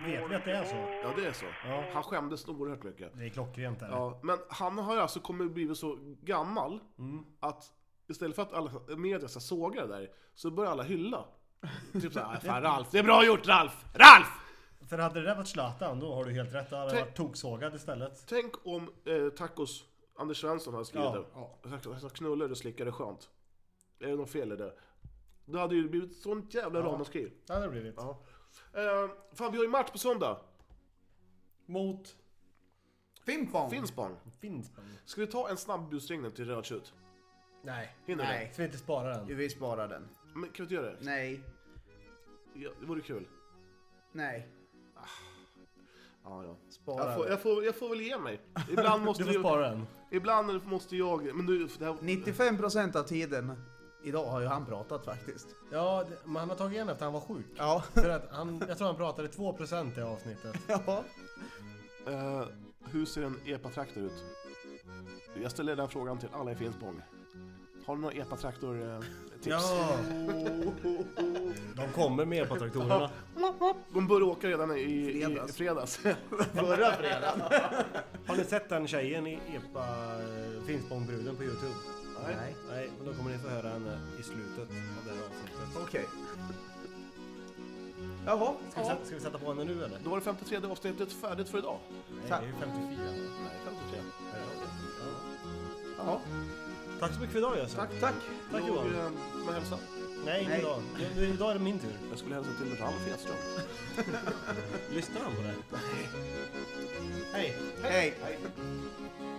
[SPEAKER 1] Vet vi att det är så?
[SPEAKER 4] Ja, det är så. Han skämdes oerhört mycket.
[SPEAKER 1] Det är klockrent där.
[SPEAKER 4] Ja, men han har ju alltså kommit blivit så gammal att istället för att alla media ska såga det där så börjar alla hylla. Typ såhär, fan Ralf, det är bra gjort Ralf! RALF!
[SPEAKER 1] För hade det där varit Zlatan, då har du helt rätt. Då hade han
[SPEAKER 4] Tänk-
[SPEAKER 1] varit toksågad istället.
[SPEAKER 4] Tänk om eh, Tacos Anders Svensson hade skrivit det. Han sa knullar och slickar det skönt. Är det något fel i det? Det hade ju blivit sånt jävla ramaskri.
[SPEAKER 1] Det hade det blivit.
[SPEAKER 4] Ja. Eh, fan, vi har ju match på söndag.
[SPEAKER 1] Mot
[SPEAKER 3] Fimpong!
[SPEAKER 4] Finspång.
[SPEAKER 1] Finspång.
[SPEAKER 4] Ska vi ta en snabb busringning till Rödtjut?
[SPEAKER 1] Nej.
[SPEAKER 4] Hinner vi?
[SPEAKER 3] Nej.
[SPEAKER 1] Ska vi inte spara den?
[SPEAKER 3] Vi sparar den.
[SPEAKER 4] Men kan vi inte göra det?
[SPEAKER 3] Nej.
[SPEAKER 4] Ja, det vore kul.
[SPEAKER 3] Nej.
[SPEAKER 4] Ja, ja.
[SPEAKER 3] Spara
[SPEAKER 4] Jag får,
[SPEAKER 3] den.
[SPEAKER 4] jag, får, jag får väl ge mig. Ibland måste,
[SPEAKER 1] Du får
[SPEAKER 4] jag,
[SPEAKER 1] spara den.
[SPEAKER 4] ibland måste jag... Men nu, det här,
[SPEAKER 3] 95% av tiden idag har ju han pratat faktiskt.
[SPEAKER 1] Ja, det- men han har tagit igen efter han var sjuk.
[SPEAKER 3] Ja.
[SPEAKER 1] För att han, jag tror han pratade 2% i avsnittet.
[SPEAKER 3] ja.
[SPEAKER 4] eh, hur ser en epatraktor ut? Jag ställer den frågan till alla i Finspång. Har ni några eh, epatraktor-tips?
[SPEAKER 1] Ja! De kommer med epatraktorerna.
[SPEAKER 4] De började åka redan i, i
[SPEAKER 3] Fredags.
[SPEAKER 4] fredags. fredags.
[SPEAKER 3] Förra fredagen.
[SPEAKER 1] Har ni sett den tjejen i epa eh, Finspångbruden på Youtube?
[SPEAKER 3] Nej.
[SPEAKER 1] Nej, men då kommer ni få höra henne i slutet av det här avsnittet.
[SPEAKER 3] Okej. Jaha.
[SPEAKER 1] Ska vi, sätta, ska vi sätta på henne nu eller?
[SPEAKER 4] Då var det 53 avsnittet färdigt för idag.
[SPEAKER 1] Nej, det är ju 54.
[SPEAKER 4] Nej, 53.
[SPEAKER 3] Jaha.
[SPEAKER 1] Tack så mycket för idag Jösse.
[SPEAKER 4] Tack.
[SPEAKER 3] Tack.
[SPEAKER 1] Tack,
[SPEAKER 4] Då,
[SPEAKER 1] Johan.
[SPEAKER 4] eh, Får jag hälsa?
[SPEAKER 1] Nej, inte
[SPEAKER 3] Nej.
[SPEAKER 1] idag. Nu- Idag är det min tur.
[SPEAKER 4] Jag skulle hälsa till Ralf Edström.
[SPEAKER 1] Lyssnar han på det? Hej!
[SPEAKER 3] Hej.